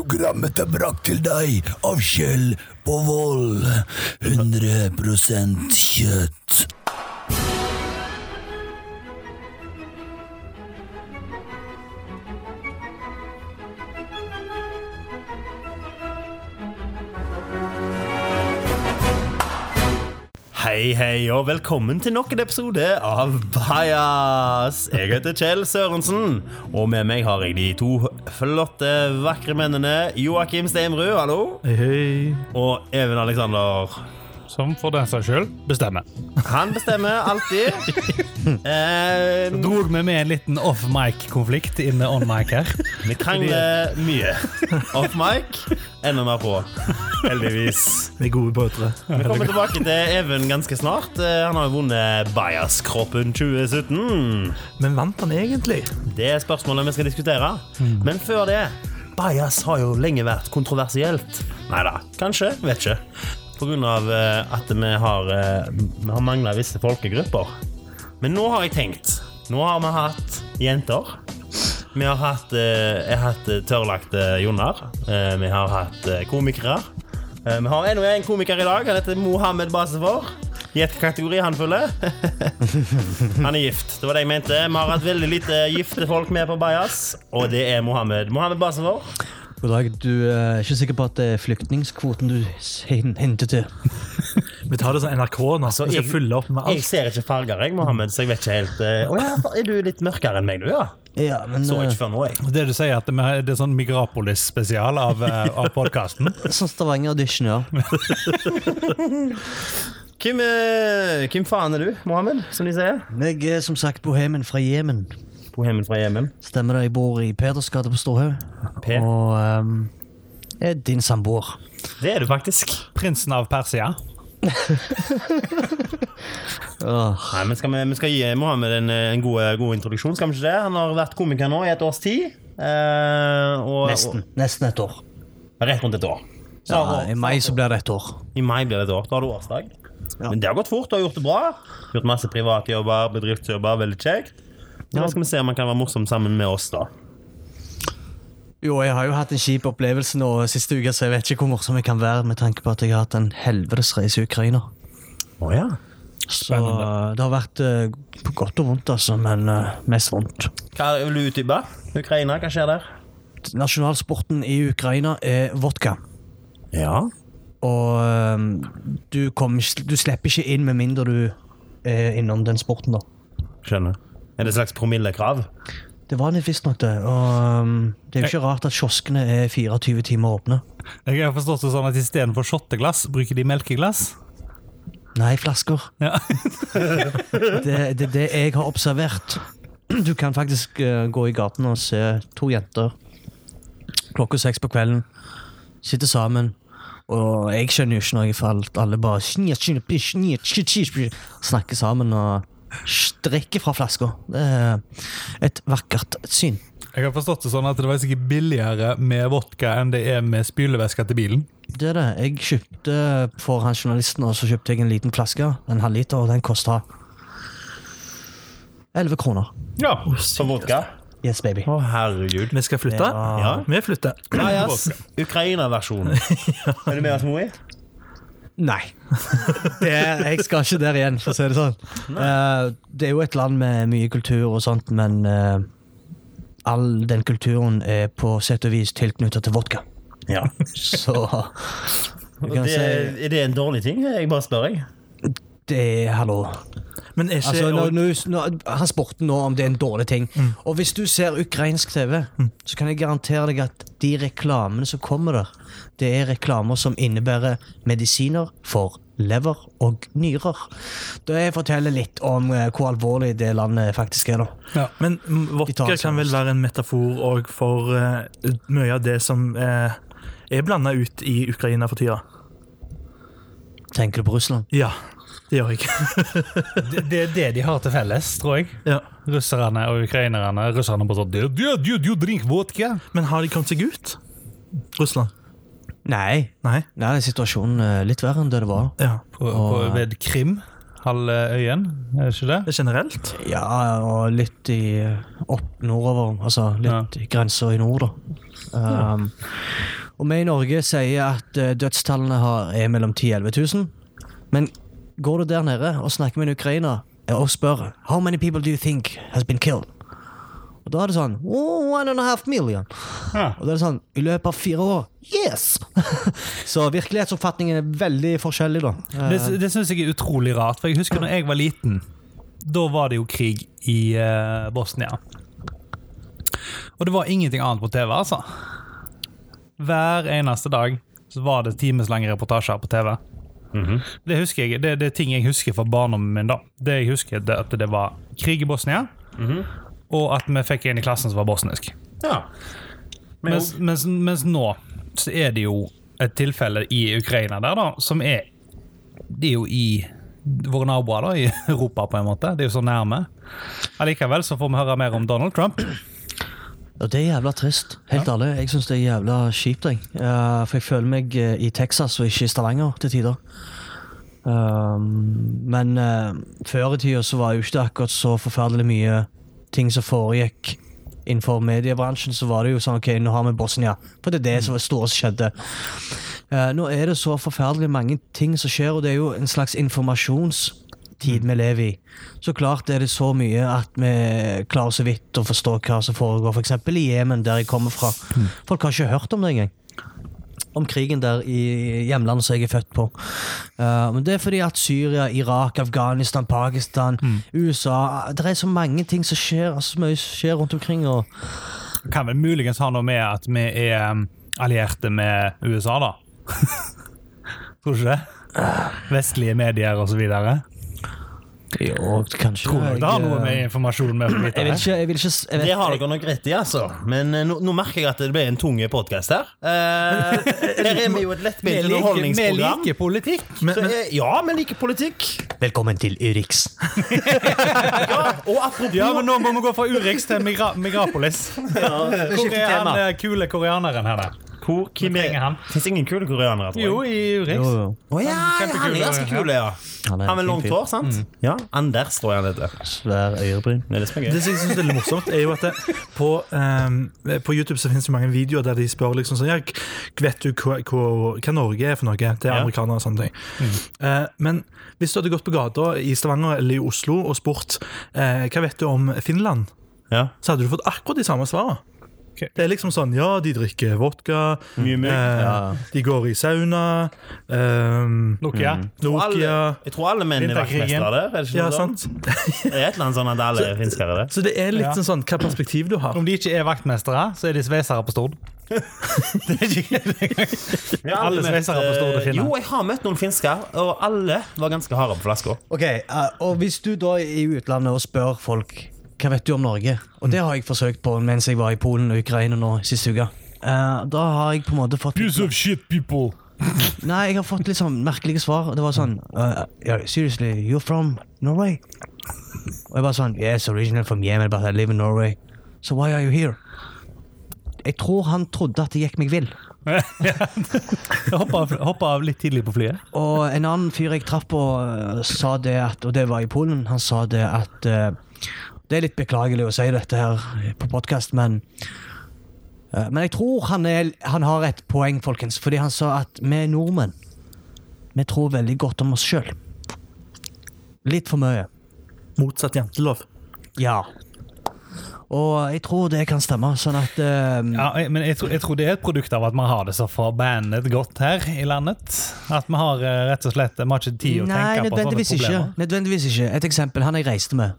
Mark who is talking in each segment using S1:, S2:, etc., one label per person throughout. S1: Programmet er brakt til deg av Kjell på Vold. 100 kjøtt.
S2: Hei, hei, og velkommen til nok en episode av Bajas. Jeg heter Kjell Sørensen, og med meg har jeg de to flotte, vakre mennene Joakim Steimrud, hallo,
S3: Hei, hei.
S2: og Even Alexander.
S3: Som for den seg sjøl bestemmer.
S2: Han bestemmer alltid. Eh,
S3: Drog vi med en liten off-mic-konflikt inne on-mic her.
S2: vi krangler mye. Off mic, enda mer på. Heldigvis.
S4: Vi er gode brødre.
S2: Vi kommer tilbake til Even ganske snart. Eh, Han har jo vunnet Bajas-kroppen 2017.
S4: Men vant han egentlig?
S2: Det er spørsmålet vi skal diskutere. Men før det Hmm. Bajas har jo lenge vært kontroversielt. Nei da, kanskje. Vet ikke. På grunn av eh, at vi har, eh, vi har mangla visse folkegrupper. Men nå har jeg tenkt. Nå har vi hatt jenter. Vi har hatt, eh, jeg har hatt eh, tørrlagte Jonar. Eh, Vi har hatt eh, komikere. Eh, Vi har enda en komiker i dag. Han heter Mohammed Basefor. Gjett hvilken kategori han følger. Han er gift. Det var det jeg mente. Vi har hatt veldig lite gifte folk med på Bajas, og det er Mohammed. Mohammed basen vår.
S5: God dag. Du eh, er ikke sikker på at det er flyktningkvoten du s- hen- henter til?
S4: Vi tar det
S3: sånn
S4: som NRK nå. Vi skal
S2: jeg-
S4: fylle opp med
S2: Jeg
S4: alt.
S2: ser ikke farger, jeg, Mohammed, så jeg vet ikke helt eh, Å ja, er du litt mørkere enn meg, du, ja?
S5: Ja, men
S2: Så
S5: eh,
S2: ikke før nå, jeg.
S3: Det du sier, at vi har- det er sånn Migrapolis-spesial av, eh, av podkasten.
S5: Sånn Stavanger-audition, ja.
S2: Hvem, eh, hvem faen er du, Mohammed, som de sier?
S5: Jeg er som sagt bohemen fra Jemen.
S2: Bohemen fra Jemen.
S5: Stemmer det, jeg bor i Pedersgata på Storhaug.
S2: Per.
S5: Og ehm, er din samboer.
S2: Det er du faktisk.
S3: Prinsen av Persia.
S5: Åh,
S2: Nei, men skal vi, vi skal gi Mohammed en, eh, en god, god introduksjon, skal vi ikke det? Han har vært komiker nå i et års tid. eh, og,
S5: nesten. Nesten et år.
S2: Og, rett rundt et år. Så
S5: Ja,
S2: har-
S5: I mai så blir det et år.
S2: I mai blir det et år. Da har du årsdag. Men det har gått fort. Du har gjort det bra. Gjort masse privatjobber, bedriftsjobber. Veldig kjekt. Nå skal vi se om han kan være morsom sammen med oss, da.
S5: Jo, jeg har jo hatt en kjip opplevelse nå siste uke, så jeg vet ikke hvor morsom jeg kan være med tanke på at jeg har hatt en helvetes reise i Ukraina.
S2: Å ja.
S5: Så det har vært eh, på godt og vondt, altså, men eh, mest vondt.
S2: Hva vil du utdype? Ukraina, hva skjer der?
S5: Nasjonalsporten i Ukraina er vodka.
S2: Ja.
S5: Og øhm, du, kommer ikke- du slipper ikke inn med mindre du er innom den sporten, da.
S2: Skjønner. Er det et slags promillekrav?
S5: Det var litt visstnok, det. Og øhm, det er jo ikke rart at kioskene er 24 timer åpne.
S3: Jeg har forstått det sånn at Istedenfor shotteglass bruker de melkeglass.
S5: Nei, flasker.
S3: Ja.
S5: Det er det, er det jeg har observert. Du kan faktisk øh, gå i gaten og se to jenter klokka seks på kvelden. Sitte sammen. Og jeg skjønner jo ikke noe, for alt- alle bare snakker sammen og drikker fra flaska. Det er et vakkert syn.
S3: Jeg har forstått det sånn at det var sikkert billigere med vodka enn det er med spylevæske til bilen.
S5: Det er det. Jeg kjøpte for han journalisten, og så kjøpte jeg en liten flaske, en halvliter, og den kosta 11 kroner.
S3: Ja.
S2: Som vodka?
S5: Yes, baby.
S2: Å, herregud.
S4: Vi skal flytte.
S5: Ja.
S4: Vi flytter.
S2: Bajas Ukraina-versjonen. Er du med oss, Moi?
S5: Nei. Det, jeg skal ikke der igjen, for å si det sånn. Eh, det er jo et land med mye kultur og sånt, men eh, all den kulturen er på sett og vis tilknytta til vodka.
S2: Ja.
S5: Så du kan
S2: Det,
S5: si
S2: er det en dårlig ting? Jeg bare spør, jeg.
S5: det er Hallo.
S4: Men er ikke
S5: Altså, nå, nå, nå, han spurte nå om det er en dårlig ting. Og hvis du ser ukrainsk TV, så kan jeg garantere deg at de reklamene som kommer der, det er reklamer som innebærer medisiner for lever og nyrer. Det forteller litt om eh, hvor alvorlig det landet faktisk er, da.
S4: Men mm,
S5: tar
S4: vodka
S5: det
S4: kan vel
S5: seriøst.
S4: være en metafor òg for eh, mye av det som eh, er blanda ut i Ukraina for tida.
S5: Tenker du på Russland?
S4: Ja, det gjør jeg.
S3: Det, det er det de har til felles, tror jeg.
S4: ja.
S3: Russerne og ukrainerne. Russerne bare sånn «Du, du, du, du, drink vodka.
S4: Men har de kommet seg ut? Russland?
S5: Nei.
S4: Nei?
S5: Nei, situasjonen er litt verre enn det det var.
S4: Ja.
S3: På, på, ved Krim. halve øyen, er det ikke det?
S4: Generelt.
S5: Ja, og litt i eh, opp nordover. Altså litt i grensa i nord, da. Um, og vi i Norge sier at eh, dødstallene har, er mellom 10 000 og 11 000. Men går du der nede og snakker med en ukrainer eh, og spør How many people do you think has been killed? Og da er det sånn oh, One and a half million.
S3: Ja.
S5: Og da er det sånn I løpet av fire år. Yes! Så virkelighetsoppfatningen er veldig forskjellig, da. Eh,
S3: Det, det syns jeg er utrolig rart, for jeg husker når jeg var liten. Da var det jo krig i eh, Bosnia. Og det var ingenting annet på TV, altså. Hver eneste dag så var det timeslange reportasjer på TV.
S2: Mhm.
S3: Det husker jeg, det, det er ting jeg husker fra barndommen min. da. Det jeg husker det er at det var krig i Bosnia, og at vi fikk en i klassen som var bosnisk.
S2: Mhm. Ja. Men
S3: Mens, mens, mens nå så er det jo et tilfelle i Ukraina der, da, som er Det er jo i våre naboer da, i Europa, på en måte. Det er jo så nærme. Allikevel så får vi høre mer om Donald Trump.
S5: Og det er jævla trist. Helt ærlig, jeg syns det er jævla kjipt. Jeg. Eh, for jeg føler meg eh, i Texas og ikke i Stavanger til tider. Um, men eh, før i tida så var jo ikke det akkurat så forferdelig mye ting som foregikk innenfor mediebransjen. Så var det jo sånn OK, nå har vi Bosnia. For det er det som var det store som skjedde. Eh, nå er det så forferdelig mange ting som skjer, og det er jo en slags informasjonstid vi lever i. Så klart er det så mye at vi klarer så vidt å forstå hva som foregår, f.eks. eksempel i Jemen, der jeg kommer fra. Folk har ikke hørt om det engang. Om krigen der i hjemlandet som jeg er født på. Eh, men det er fordi at Syria, Irak, Afghanistan, Pakistan, USA Det er så mange ting som skjer, altså, så mye som skjer rundt omkring. og
S3: Kan vel muligens ha noe med at vi er um, allierte med USA, da. Tror du ikke det? Vestlige medier osv.
S5: Jo, kanskje
S3: Tror du det har
S5: jeg,
S3: noe
S5: eh,
S3: med informasjon med å
S5: jeg vil
S3: vite?
S5: ikke, jeg vil ikke jeg vet,
S2: Det har dere nok rett i, altså. Men eh, nå, nå merker jeg at det ble en tung podkast her. Eh, her er vi jo et
S3: Vi
S2: lettbeint
S3: liker- vi
S2: underholdningsprogram.
S3: liker politikk.
S2: Så, eh, ja, vi liker politikk.
S5: Velkommen til Urix.
S2: Og apropos
S3: Ja, men nå må vi gå fra Urix til Migra Migrapolis. Hvor er han eh, kule koreaneren her, da?
S2: Hvor, hvem
S3: Vi trenger han.
S2: Fins ingen kule koreanere, tror jeg.
S3: Jo, i Urix.
S5: Jo, jo.
S2: Å ja, ja, han er ganske kul, ja.
S5: Han
S2: Han
S5: er en
S2: med
S5: fin
S2: langt
S5: fyr. Mm.
S2: hår, sant? Ja, Anders tror jeg han heter.
S5: Svær øyebryn.
S2: Det er det som er
S4: Det
S2: gøy.
S4: som jeg synes er litt morsomt, er jo at det, på, eh, på YouTube så finnes det mange videoer der de spør liksom sånn, ja, k- vet du hva, hva, hva Norge er for noe til amerikanere og sånne ting. Eh, men hvis du hadde gått på gata i Stavanger eller i Oslo og spurt eh, hva vet du om Finland,
S2: Ja.
S4: så hadde du fått akkurat de samme svarene.
S3: Ok.
S4: Det er liksom sånn Ja, de drikker vodka.
S2: Mye mygg,
S4: eh, De går i sauna. eh,
S3: Nokia.
S5: Mm.
S4: Nokia.
S2: Alle- Jeg tror alle menn er
S3: Vinterkrigen.
S2: vaktmestere der. Er det ikke
S4: Ja,
S2: noe sånt?
S4: sant?
S2: Det er et eller annet sånn at alle er finskere der.
S4: Så det er litt
S3: Ja.
S4: sånn hva perspektiv du har.
S3: Om de ikke er vaktmestere, så er de sveisere på Stord. det er ikke det er ikke-
S2: Jeg har
S3: Alle
S2: aldri
S3: sveisere på Stord og
S2: eh,
S3: Finland.
S2: Jo, jeg har møtt noen finsker, og alle var ganske harde på flaska.
S5: Ok, eh, og hvis du da er i utlandet og spør folk Hva vet du om Norge? Og det har jeg forsøkt på mens jeg var i Polen og Ukraina nå siste uke Eh, Da har jeg på en måte fått
S3: of shit, people.
S5: Nei, jeg har fått litt sånn merkelige svar Det var sånn eh, yeah, Seriously, you're from Norway? Og jeg bare sånn Yes, original from Yemen, but I live in Norway So why are you here? Jeg tror han trodde at det gikk meg vill
S3: Hoppa av, hoppa av litt tidlig på flyet.
S5: Og en annen fyr jeg traff på, eh, sa det at Og det var i Polen. Han sa det at eh, Det er litt beklagelig å si dette her på podkast, men eh, Men jeg tror han, er, han har et poeng, folkens. Fordi han sa at vi nordmenn Vi tror veldig godt om oss sjøl. Litt for mye.
S4: Motsatt jantelov.
S5: Ja. Og jeg tror det kan stemme. Sånn at eh,
S3: Ja, jeg- men jeg tror, jeg tror det er et produkt av at man har det så forbannet godt her i landet. At vi har eh, rett og slett vi har ikke tid å
S5: Nei,
S3: tenke på sånne
S5: nødvendigvis ikke.
S3: problemer.
S5: nødvendigvis ikke. Et eksempel. Han jeg reiste med.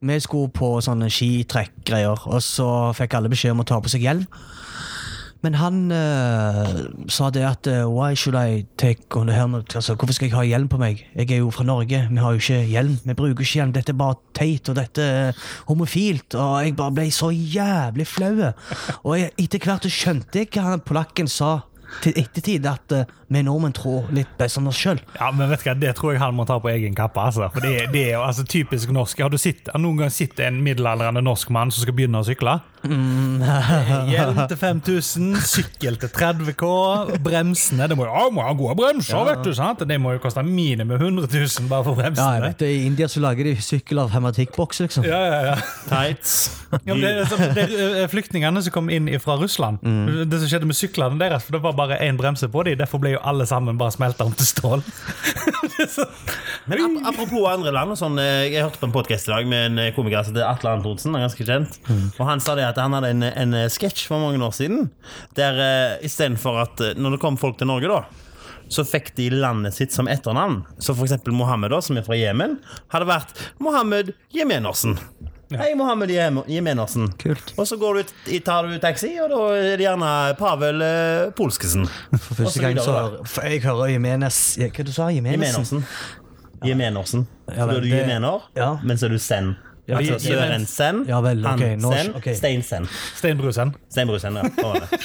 S5: Vi skulle på sånne skitrekk-greier, og så fikk alle beskjed om å ta på seg hjelm. Men han eh, sa det at eh, Why should I take on the helmet? Altså, hvorfor skal jeg ha hjelm på meg? Jeg er jo fra Norge, vi har jo ikke hjelm. Vi bruker ikke hjelm. Dette er bare teit, og dette er homofilt. Og jeg bare ble så jævlig flau. Og jeg, etter hvert så skjønte jeg hva han polakken sa til ettertid, at eh, vi nordmenn tror litt best om oss sjøl.
S3: Ja, men vet du hva, Det tror jeg han må ta på egen kappe. altså. For Det, er- det er jo altså, typisk norsk. Har du sett, har noen gang sett en middelaldrende norsk mann som skal begynne å sykle?
S5: Mm.
S3: Hjelm til 5000, sykkel til 30K, bremsene Det må jo ja, må ha gode bremser, vet du. sant? Det må jo koste minimum 100 000 bare for
S5: Ja, jeg
S3: bremsene.
S5: vet, det. I India så lager de sykkel av hermetikkbokser, liksom.
S3: Ja, ja, ja.
S2: Tights.
S3: Ja, men det, er som- det er eh, flyktningene som kom inn fra Russland.
S5: Mm.
S3: Det som skjedde med syklene deres, for det var bare én bremse på dem. Derfor ble jo alle sammen bare smelta om til stål. Det er sånn. så-
S2: Men ap apropos andre land og sånn, eh, Jeg hørte på en podkast i dag med en eh, komiker som heter Atle Antonsen. Han er ganske kjent Og Han sa det at han hadde en, en eh, sketsj for mange år siden. Der eh, istedenfor at eh, når det kom folk til Norge, da så fikk de landet sitt som etternavn. Så for eksempel Mohammed, da, som er fra Jemen, hadde vært Mohammed Jemenersen. Hei, Mohammed Jem- Jemenersen.
S5: Kult.
S2: Og så går du, ut- i- tar du taxi, og da er det gjerne Pavel eh, Polskesen.
S5: For første
S2: så
S5: gang
S2: videre,
S5: så
S2: da.
S5: hører for jeg hører Jimenez ja, Hva du sa Jimenez?
S2: Jemenersen. Jemenersen. Så
S5: Ja,
S2: da er du
S5: det-
S2: Jemener,
S5: Ja.
S2: men så er du Sen.
S5: Ja,
S2: altså
S5: Jemens-
S2: Søren Sen,
S5: Ja vel, ok,
S2: han
S5: nå-
S2: Sen,
S5: ok.
S2: Stein Sen.
S3: Steinbrusen.
S2: Steinbrusen, ja. Hva var det?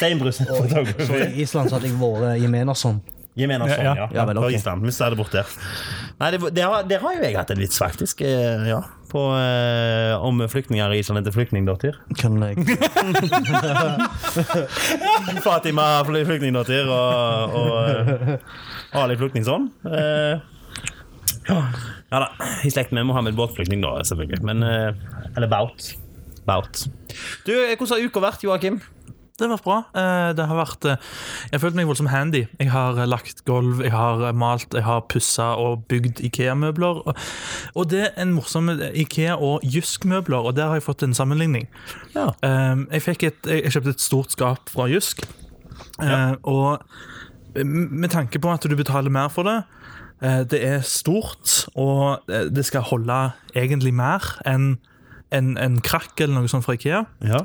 S2: Steinbrusen
S5: Så
S2: photography.
S5: I Island så hadde jeg vært sånn. Jimenersson.
S2: Jemenersen,
S3: Ja,
S2: ja.
S3: ja.
S5: Ja vel,
S2: Fra
S5: ok.
S2: Island. Mista det bort der. Nei, det, det, har, det har jo jeg hatt en vits, faktisk. eh, Ja. På, eh, om flyktninger i Island heter flyktningdåtyr.
S5: Kan jeg
S2: Fatima fly- flyktningdåtyr og, og eh, Ali Flyktningsson. Eh, ja da. I slekt med Mohammed Båtflyktning, da, selvfølgelig. Men eh, Eller Baut. Baut. Du, eh, hvordan har uka vært, Joakim?
S4: Det har vært bra. Eh, Det har vært eh, Jeg har følt meg voldsomt handy. Jeg har eh, lagt gulv, jeg har eh, malt, jeg har pussa og bygd Ikea-møbler. Og- Og det er en morsom eh, Ikea- og Jysk-møbler, og der har jeg fått en sammenligning.
S2: Ja.
S4: Eh, Jeg, fikk et, jeg jeg kjøpte et stort skap fra Jysk, Eh, og eh, med tanke på at du betaler mer for det eh, Det er stort, og eh, det skal holde egentlig mer enn en, en krakk eller noe sånt fra Ikea.
S2: Ja.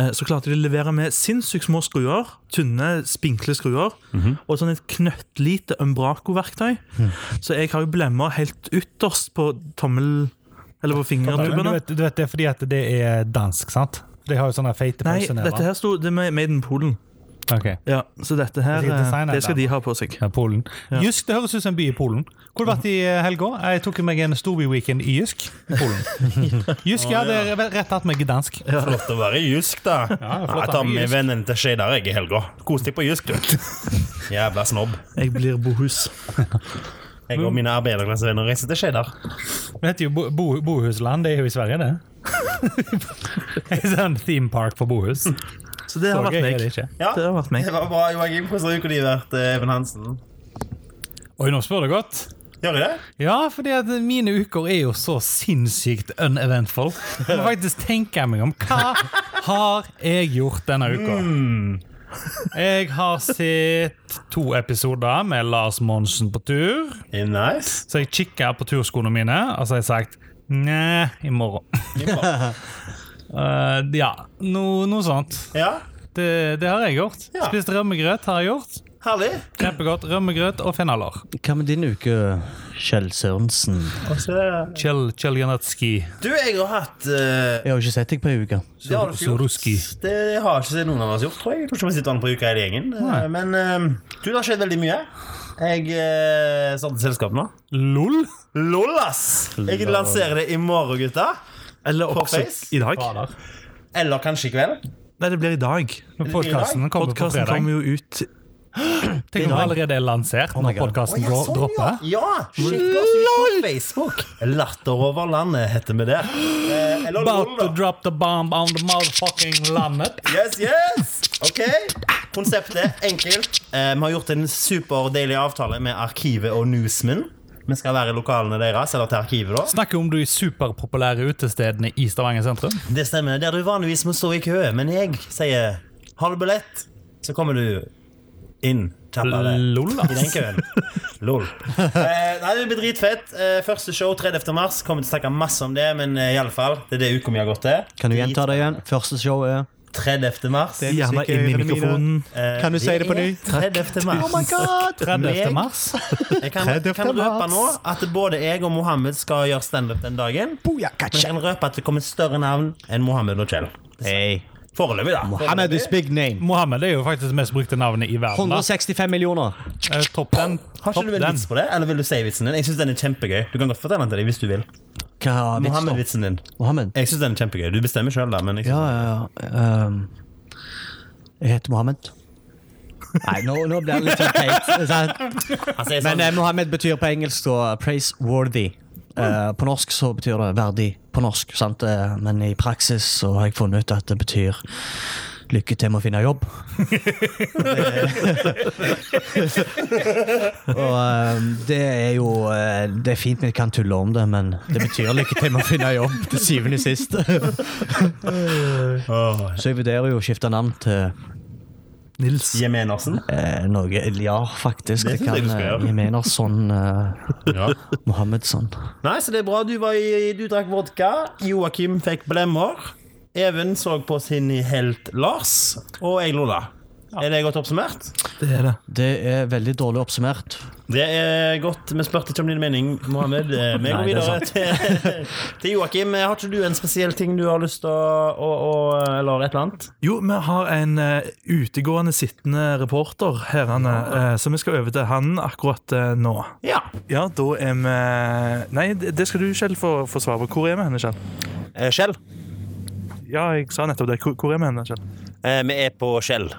S4: Eh, så klarte de å levere med sinnssykt små skruer. Tynne, spinkle skruer.
S2: Mhm.
S4: Og sånn et knøttlite Umbraco-verktøy. Så jeg har jo blemmer helt ytterst på tommel... Eller på
S3: Men du
S4: fingertuppene.
S3: vet, du vet det er fordi at det er dansk, sant? De har jo sånne feite
S4: Nei,
S3: pølser
S4: dette her sto det er made in Polen.
S3: Ok.
S4: Ja, så dette her
S3: Det er
S4: eh,
S3: designet
S4: Det skal
S3: der.
S4: de ha på seg.
S3: Ja, Polen. Jysk, det høres ut som en by i Polen. Hvor har du vært i eh, helga? Jeg tok meg en storby-weekend i Jysk. i Polen. Jysk, ja, det er rett tatt med gdansk.
S2: Flott å være jysk, da.
S3: flott å
S2: jeg tar
S3: være
S2: med
S3: jysk.
S2: vennen til Skeidar jeg i helga. Kos deg på jysk, du. Jævla snobb.
S4: Jeg blir bohus.
S2: Jeg og mine arbeiderklassevenner reiser til Skeidar.
S3: Det heter jo Bo- Bo- Bohusland, det er jo i Sverige, det. En sånn theme park for Bohus.
S4: Så det
S3: Så
S4: har vært
S3: gøy er det
S4: meg.
S3: ikke.
S2: Ja,
S4: Det har vært meg.
S2: det var bra, Joakim. Hvordan har uka di vært, eh, Even Hansen?
S3: Oi, nå spør du godt.
S2: Gjør jeg det?
S3: Ja, fordi at mine uker er jo så sinnssykt uneventful. Jeg må faktisk tenke meg om. Hva har jeg gjort denne uka? Jeg har sett to episoder med Lars Monsen på tur.
S2: Eh, Nice.
S3: Så jeg kikka på turskoene mine, og så har jeg sagt Nei, i morgen. Eh, ja, no, noe sånt.
S2: Ja,
S3: Det, det har jeg gjort.
S2: Ja.
S3: Spist rømmegrøt har jeg gjort.
S2: herlig.
S3: Kjempegodt. Rømmegrøt og fennaler.
S5: Hva med din uke, Kjell Sørensen?
S3: Kjell Kjeljanetski.
S2: Du, jeg har hatt eh,
S5: Jeg har jo ikke sett deg på ei uke.
S2: Det har du ikke gjort.
S3: Soroski.
S2: Det har ikke noen av oss gjort, tror jeg. Jeg tror ikke vi sitter an på uka hele gjengen. Eh,
S3: Nei.
S2: Men eh, du, det har skjedd veldig mye. Jeg eh, startet selskap nå.
S3: LOL?
S2: Lol, ass! Jeg lanserer det i morgen, gutta.
S4: Eller
S2: På
S4: også
S2: Face?
S4: i dag.
S2: Eller kanskje i kveld.
S4: Nei, det blir i dag.
S3: Podkasten kommer på
S4: Podkasten
S3: fredag.
S4: kommer jo ut
S3: Tenk om den allerede er lansert når podkasten
S2: Å, ja, sånn,
S3: dropper.
S2: Ja! ja sjekk oss ut på Facebook. Latter over landet heter vi der. Eh, eller
S3: About
S2: lol, da.
S3: to drop the bomb on the motherfucking landet.
S2: Yes, yes! Ok. Konseptet enkelt. Eh, vi har gjort en superdeilig avtale med Arkivet og Newsman. Vi skal være i lokalene deres, eller til arkivet, da.
S3: Snakker om de superpopulære utestedene i Stavanger sentrum.
S2: Det stemmer. Der du vanligvis må stå i kø. Men jeg sier 'har du billett', så kommer du inn. Kjappere.
S3: LOL,
S2: I
S3: ass.
S2: den køen. Lol. Eh, nei, det blir dritfett. Eh, første show 30. mars. Kommer til å snakke masse om det, men eh, i alle fall, det er det uka mi har gått til.
S5: Kan du gjenta det igjen? Første show er
S2: 30. mars.
S4: gjerne inn i mikrofonen.
S2: Eh,
S5: Kan du si det på ny?
S2: er 30. mars.
S5: god!
S3: 30.
S2: Meg-
S3: mars.
S2: Jeg kan, jeg kan
S5: 30.
S2: røpe
S5: mars.
S2: nå at både jeg og Mohammed skal gjøre standup den dagen. Men jeg kan røpe at det kommer større navn enn Mohammed og Kjell.
S5: Hey.
S2: Foreløpig, da.
S5: Mohammed is big name.
S3: Mohammed er jo faktisk det mest brukte navnet i verden. da.
S5: 165 millioner.
S3: Eh, Topp den.
S2: Har
S3: Topp
S2: ikke du en
S3: den.
S2: vits på det? Eller vil du si vitsen din? Jeg synes den er kjempegøy. Du kan godt fortelle den til dem hvis du vil.
S5: Hva vits da?
S2: Mohammed-vitsen din.
S5: Mohammed?
S2: Jeg syns den er kjempegøy. Du bestemmer sjøl, da. Men jeg
S5: Ja,
S2: synes-
S5: ja, ja. Um, jeg heter Mohammed. Nei, nå, nå blir det litt sånn teit. sant?
S2: Han sier sånn
S5: Men eh, Mohammed betyr på engelsk da praiseworthy. Eh, på norsk så betyr det verdig på norsk, sant? Eh, men i praksis så har jeg funnet ut at det betyr lykke til med å finne jobb. Det- Og eh, det er jo eh, Det er fint vi kan tulle om det, men det betyr lykke til med å finne jobb til syvende og sist.
S2: Åh,
S5: Så jeg vurderer jo å skifte navn til
S4: Nils.
S2: Jemenersen.
S5: eh, noe Ja, faktisk.
S2: Det
S5: Det,
S2: synes jeg
S5: kan
S2: du skal gjøre.
S5: eh, Jeg mener sånn eh, sånn.
S2: Ja.
S5: Mohammedsson.
S2: Nei, så det er bra. Du, var i, du drakk vodka. Joakim fikk blemmer. Even så på sin helt Lars. Og jeg lo da. Er det godt oppsummert?
S4: Det er det.
S5: Det er veldig dårlig oppsummert.
S2: Det er godt. Vi spurte ikke om din mening, Mohammed. Eh, Vi går
S5: Nei, det er
S2: videre til, til Joakim. Har ikke du en spesiell ting du har lyst til å, å, å Eller et eller annet?
S4: Jo, vi har en eh, utegående sittende reporter her, han, eh, så vi skal over til han akkurat eh, nå.
S2: Ja.
S4: Ja, da er vi Nei, det det skal du selv få, få svare på. Hvor er vi henne, Kjell?
S6: Eh, Skjell.
S4: Ja, jeg sa nettopp det. Hvor, hvor er vi henne, Kjell?
S6: Eh, vi er på Skjell.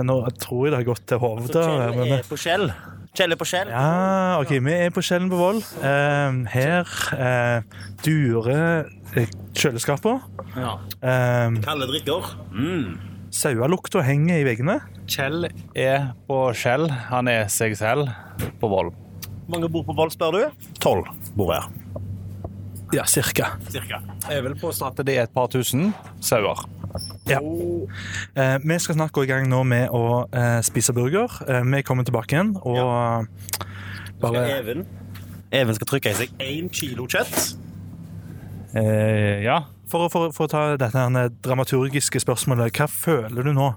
S4: Nå tror jeg det har gått til hodet.
S6: Kjell
S4: men-
S6: er på Skjell. Kjell er på Skjell.
S4: Ja, OK. Vi er på Kjellen på Voll. Eh, her eh, durer eh, kjøleskapene.
S6: Ja.
S4: Eh,
S6: Kalde drikker.
S4: Sauelukta henger i veggene.
S7: Kjell er på Kjell. Han er seg selv på Vold.
S6: Hvor mange bor på Vold, spør du? Tolv bor her.
S4: Ja, cirka.
S6: Cirka.
S7: Jeg vil påstå at det er et par tusen sauer.
S4: Eh, vi skal snart gå i gang nå med å eh, spise burger. Eh, vi kommer tilbake igjen og bare
S6: Even. Even skal trykke i seg én kilo kjøtt.
S7: Eh, ja.
S4: for, å- for, for å ta dette her dramaturgiske spørsmålet, hva føler du nå?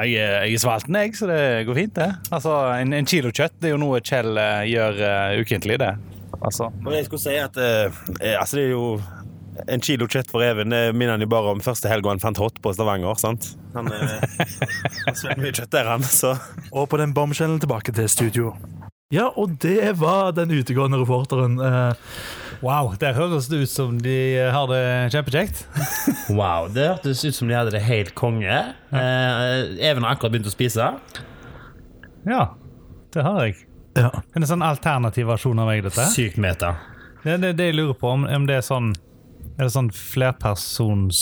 S7: Jeg er, jeg er svalten, jeg, så det går fint, det. Altså, en, en kilo kjøtt det er jo noe Kjell eh, gjør eh, ukentlig, det. Altså.
S6: Men jeg skulle si at eh, eh, altså det er jo en kilo kjøtt for Even det minner han jo bare om første helga han fant hot på Stavanger. sant? Han eh, han svelger mye kjøtt der, han. Så
S4: Og på den bombskjellen tilbake til studio. Ja, og det var den utegående reporteren. Eh,
S3: Wow, der høres det ut som de eh, har det kjempekjekt.
S2: Wow, det hørtes ut som de hadde det helt konge. Eh, Even har akkurat begynt å spise.
S3: Ja, det har jeg.
S4: ja.
S3: En sånn alternativ versjon av meg, dette.
S2: Sykt meta.
S3: Det er det, det jeg lurer på, om, om det er sånn Er det sånn flerpersons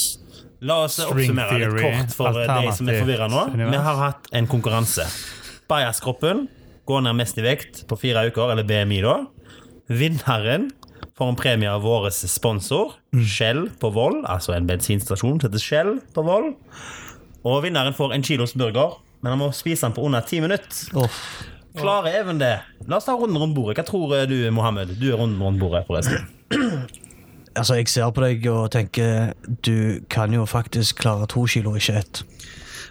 S2: La oss
S3: String
S2: oppsummere litt
S3: theory,
S2: kort for eh, deg som er
S3: alternativt
S2: forvirra nå.
S3: univers.
S2: Vi har hatt en konkurranse. Bajaskroppen går ned mest i vekt på fire uker, eller BMI, da. Vinneren får en premie av vår sponsor,
S3: Mm.
S2: Shell på Voll, altså en bensinstasjon som heter Shell på Voll. Og vinneren får en kilos burger, men han må spise den på under ti minutter.
S5: Uff.
S2: Klarer Even det? La oss ta runden rundt bordet. Hva tror eh, du, Mohammed? Du er runden rundt bordet, forresten.
S5: Altså, jeg ser på deg og tenker du kan jo faktisk klare to kilo, ikke ett.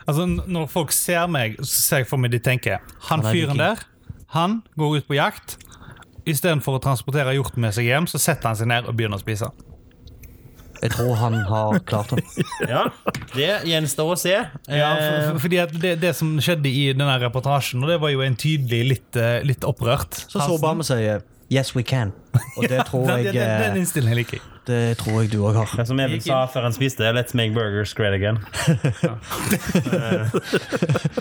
S3: Altså, n- når folk ser meg, så ser jeg for meg de tenker Han
S5: Han er
S3: fyren
S5: viking.
S3: der, han går ut på jakt. Istedenfor å transportere hjorten med seg hjem, så setter han seg ned og begynner å spise.
S5: Jeg tror han har klart det.
S2: Ja, Det gjenstår å se.
S3: Ja,
S2: Eh,
S3: for, for, fordi at det, det som skjedde i denne reportasjen, og det var jo en tydelig litt, eh, litt opprørt
S5: Så så bare vi sier 'yes, we can'. Og det tror
S3: Den,
S5: jeg,
S3: den, den
S5: eh,
S3: innstillingen liker jeg.
S5: det tror jeg du òg har.
S2: Ja, som Even sa før han spiste, let's make burgers great again.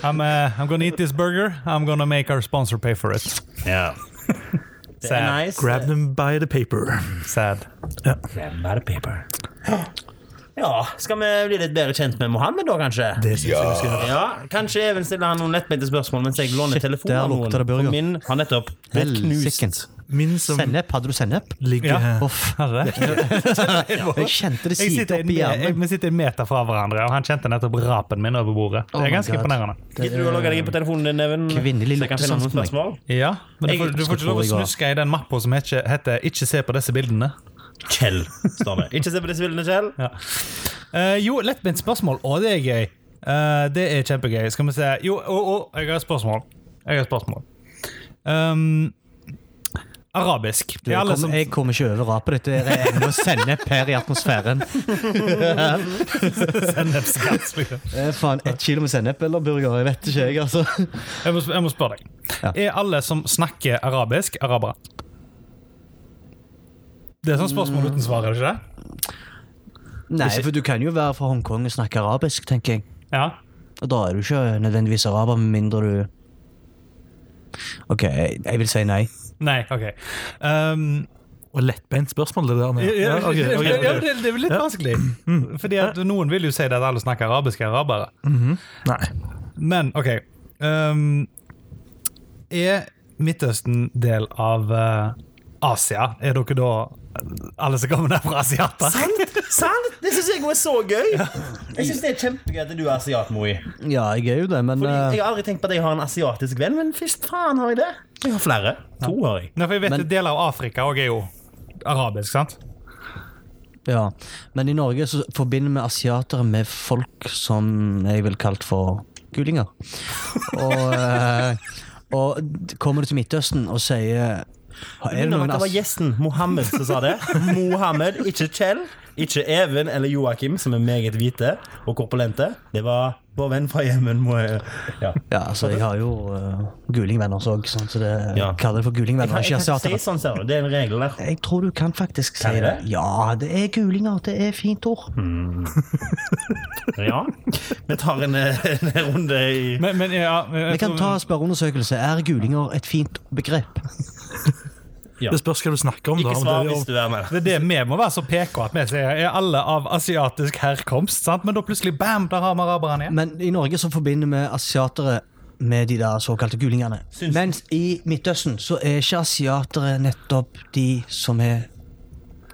S3: I'm, uh, I'm gonna eat this burger. I'm gonna make our sponsor pay for it.
S2: Ja. Det er
S3: Sad.
S2: nice.
S4: Grab them by the paper.
S3: Sad.
S2: Grab by the paper. Ja, skal vi bli litt bedre kjent med Mohammed da, kanskje?
S4: Det synes jeg vi skal gjøre.
S2: Ja, Kanskje Even stiller han noen lettbeinte spørsmål mens jeg låner telefonen
S5: der
S2: av noen.
S5: lukter det burger.
S2: For Min har nettopp blitt
S5: Helsike.
S2: knust.
S4: Min som
S5: Sennep? Hadde du sennep?
S4: ligger
S3: Ja.
S4: her.
S5: Uff.
S3: Herre.
S5: Jeg kjente
S3: Jeg
S5: det side
S3: sitter,
S5: opp i
S3: jeg,
S5: hjernen.
S3: vi sitter en meter fra hverandre, og han kjente nettopp rapen min over bordet. Det
S5: Oh my
S3: er ganske
S5: God.
S3: imponerende.
S2: Gidder du å logge deg inn på telefonen din, Even?
S5: Kvinnelig
S2: så jeg kan finne noen
S5: luktesansen, jeg.
S2: spørsmål?
S3: Ja, men du
S2: Jeg
S3: får, du
S5: skal
S3: får ikke lov å
S5: prøve i går.
S3: snuske i den mappa som heter, heter 'Ikke se på disse bildene'.
S2: Kjell, står det. Ikke se på disse bildene, Kjell.
S3: Eh, jo, lettbent spørsmål. Å, det er gøy. Eh, det er kjempegøy. Skal vi se Jo, å, å, jeg har et spørsmål. Jeg har et spørsmål. Um, arabisk. Det er alle
S5: Jeg
S3: som
S5: kommer, jeg kommer ikke over rapet ditt. Det er ennå sennep her i atmosfæren. Eh, Faen, ett kilo med sennep eller burger? Jeg vet ikke, jeg, altså.
S3: Jeg må, sp- jeg må spørre deg.
S5: Ja.
S3: Er alle som snakker arabisk, arabere? Det er sånn spørsmål uten svar, er det ikke det?
S5: Nei, for du kan jo være fra Hongkong og snakke arabisk, tenker jeg.
S3: Ja.
S5: Og da er du ikke nødvendigvis araber, med mindre du OK, jeg, jeg vil si nei.
S3: Nei, OK. Um,
S4: Og lettbeint spørsmål, det der. nå.
S3: ja, ja,
S4: Ja, ok, ok, ok.
S3: ja, det, det er vel litt vanskelig. Fordi at Noen vil jo si det at alle snakker arabisk arabere.
S4: Nei.
S3: Men OK um, Er Midtøsten del av eh, Asia? Er dere da alle som kommer der fra asiater?
S2: Sant? Det syns jeg er så gøy! Jeg syns det er kjempegøy at du er asiat, Moi.
S5: Ja, jeg er jo det, men
S2: Fordi
S5: eh,
S2: Jeg har aldri tenkt på at jeg har en asiatisk venn, men først faen har jeg det. Jeg har flere. To har jeg.
S3: Nei, for jeg vet
S5: Men-
S3: at Deler av Afrika også er jo arabisk, sant?
S5: Ja. Men i Norge så forbinder vi asiatere med folk som jeg vil kalt for gulinger. Og, eh, og d- kommer du til Midtøsten og sier "Ha- Er
S2: Minner
S5: det
S2: om
S5: noen
S2: at det var
S5: as
S2: gjesten Mohammed som sa det. Mohammed, ikke Kjell. Ikke Even eller Joakim, som er meget hvite og korpulente. Det var vår venn fra Jemen. Mo- Ja.
S5: Ja, altså, jeg har jo eh, gulingvenner også, sånn, så det
S2: Ja.
S5: kaller det for
S2: Jeg
S5: gulingvenner,
S2: kan, jeg
S5: ikke
S2: kan ikke si
S5: asiatere.
S2: sånn, ser du. Det er en regel der.
S5: Jeg tror du kan faktisk si
S2: Kan jeg
S5: det.
S2: det?
S5: Ja, det er gulinger. Det er fint ord.
S2: Ja. Vi tar en, eh, en runde i
S3: Men, men ja jeg
S5: Vi kan
S3: tror-
S5: ta spørreundersøkelse. Er gulinger et fint begrep?
S2: Ja.
S4: Det spørs hva du snakker om. da,
S2: Ikke
S4: om
S2: svar
S4: det-
S2: hvis du er med.
S3: Det er det vi må være så PK at vi sier er alle av asiatisk herkomst. sant? Men da plutselig bam, der har vi araberne igjen.
S5: Men i Norge så forbinder vi asiatere med de der såkalte gulingene.
S2: Syns-
S5: Mens i Midtøsten så er ikke asiatere nettopp de som er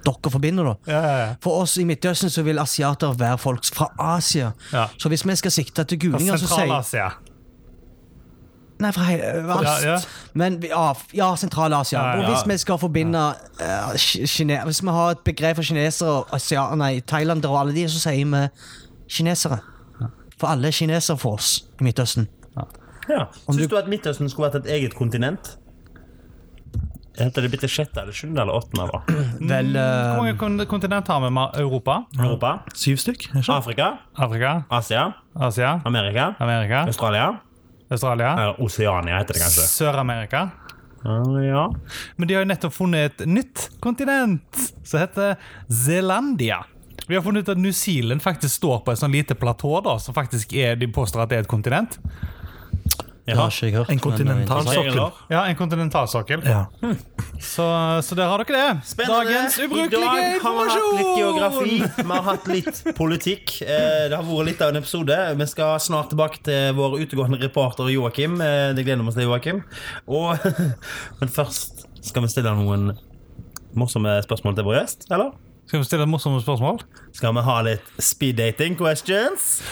S5: dere forbinder, da.
S3: Ja, ja, ja.
S5: For oss i Midtøsten så vil asiater være folk fra Asia.
S3: Ja.
S5: Så hvis vi skal sikte til gulinger, så sier
S3: Sentral-Asia.
S5: Nei, fra hei- øverst.
S3: Ja, ja.
S5: Men vi- ja, f- ja Sentral-Asia.
S3: Ja, ja.
S5: Og hvis vi skal forbinde eh, ki- kine Hvis vi har et begrep for kinesere og asia- nei, thailendere og alle de, så sier vi kinesere. For alle er kinesere for oss i Midtøsten.
S2: Ja. Syns du at Midtøsten skulle vært et eget kontinent? Heter det bitte sjette eller sjuende eller åttende? da?
S5: Vel eh,
S3: Hvor mange kon- kontinent har vi? med Europa,
S2: Europa,
S4: Syv stykk? er det ikke?
S2: Afrika,
S3: Afrika,
S2: Asia,
S3: Asia,
S2: Amerika,
S3: Amerika,
S2: Australia
S3: Australia,
S2: Eller Oseania heter det kanskje.
S3: Sør-Amerika.
S2: Ja.
S3: Men de har jo nettopp funnet et nytt kontinent som heter Zelandia. De har funnet ut at New Zealand faktisk står på et sånn lite platå da, som faktisk er, de påstår at det er et kontinent.
S5: Det har ikke jeg hørt. eh,
S4: En
S3: Altså,
S2: Regler.
S4: kontinentalsokkel.
S3: Ja, en kontinentalsokkel.
S4: Ja.
S3: Så, så der har dere det.
S2: Spennende.
S3: Dagens
S2: I
S3: ubrukelige
S2: dag har vi hatt litt geografi, vi har hatt litt politikk. Eh, Det har vært litt av en episode. Vi skal snart tilbake til vår utegående reporter Joakim. Eh, Det gleder vi oss til, Joakim. Og, men først skal vi stille noen morsomme spørsmål til vår gjest, eller?
S3: Skal vi stille et morsomt spørsmål?
S2: Skal vi ha litt speed dating questions?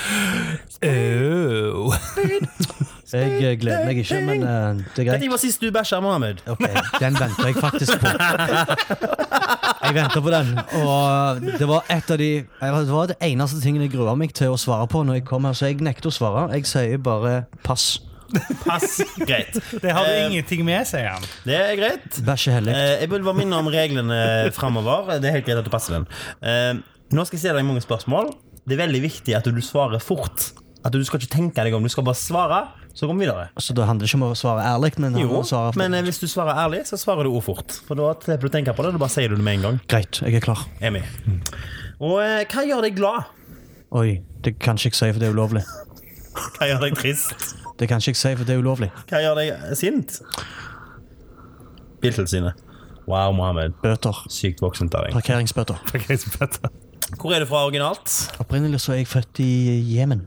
S5: Jeg eh, gleder meg ikke, men eh, det er greit.
S2: Når var sist du bæsja, Mohammed?
S5: Ok, Den venter jeg faktisk på. Jeg venter på den. Og det var et av de Det var det eneste tingen jeg grua meg til å svare på når jeg kom her, så jeg nekter å svare. Jeg sier bare pass.
S2: Pass. Greit.
S3: Det har
S2: Eh,
S3: ingenting med, sier han.
S2: Det er greit.
S5: Bæsje hellig.
S2: Eh, Jeg vil bare minne om reglene framover. Det er helt greit at du passer den. Eh, Nå skal jeg stille deg mange spørsmål. Det er veldig viktig at du svarer fort. At du skal ikke tenke deg om. Du skal bare svare, så går vi videre.
S5: Så det handler ikke om å svare ærlig, men om å svare
S2: Eh. Men eh, hvis du svarer ærlig, så svarer du ord fort. For da slipper du å tenke på det. Da bare sier du det med en gang.
S5: Greit, jeg er klar.
S2: Emmy. Og eh, hva gjør deg glad?
S5: Oi, det kan ikke jeg si, for det er ulovlig.
S2: Hva gjør deg trist?
S5: Det kan ikke jeg si, for det er ulovlig.
S2: Hva gjør deg eh, sint? Biltilsynet. Wow, Mohammed.
S5: Bøter.
S2: Sykt voksent av deg.
S5: Parkeringsbøter.
S2: Hvor er du fra originalt?
S5: Opprinnelig så er jeg født i Jemen.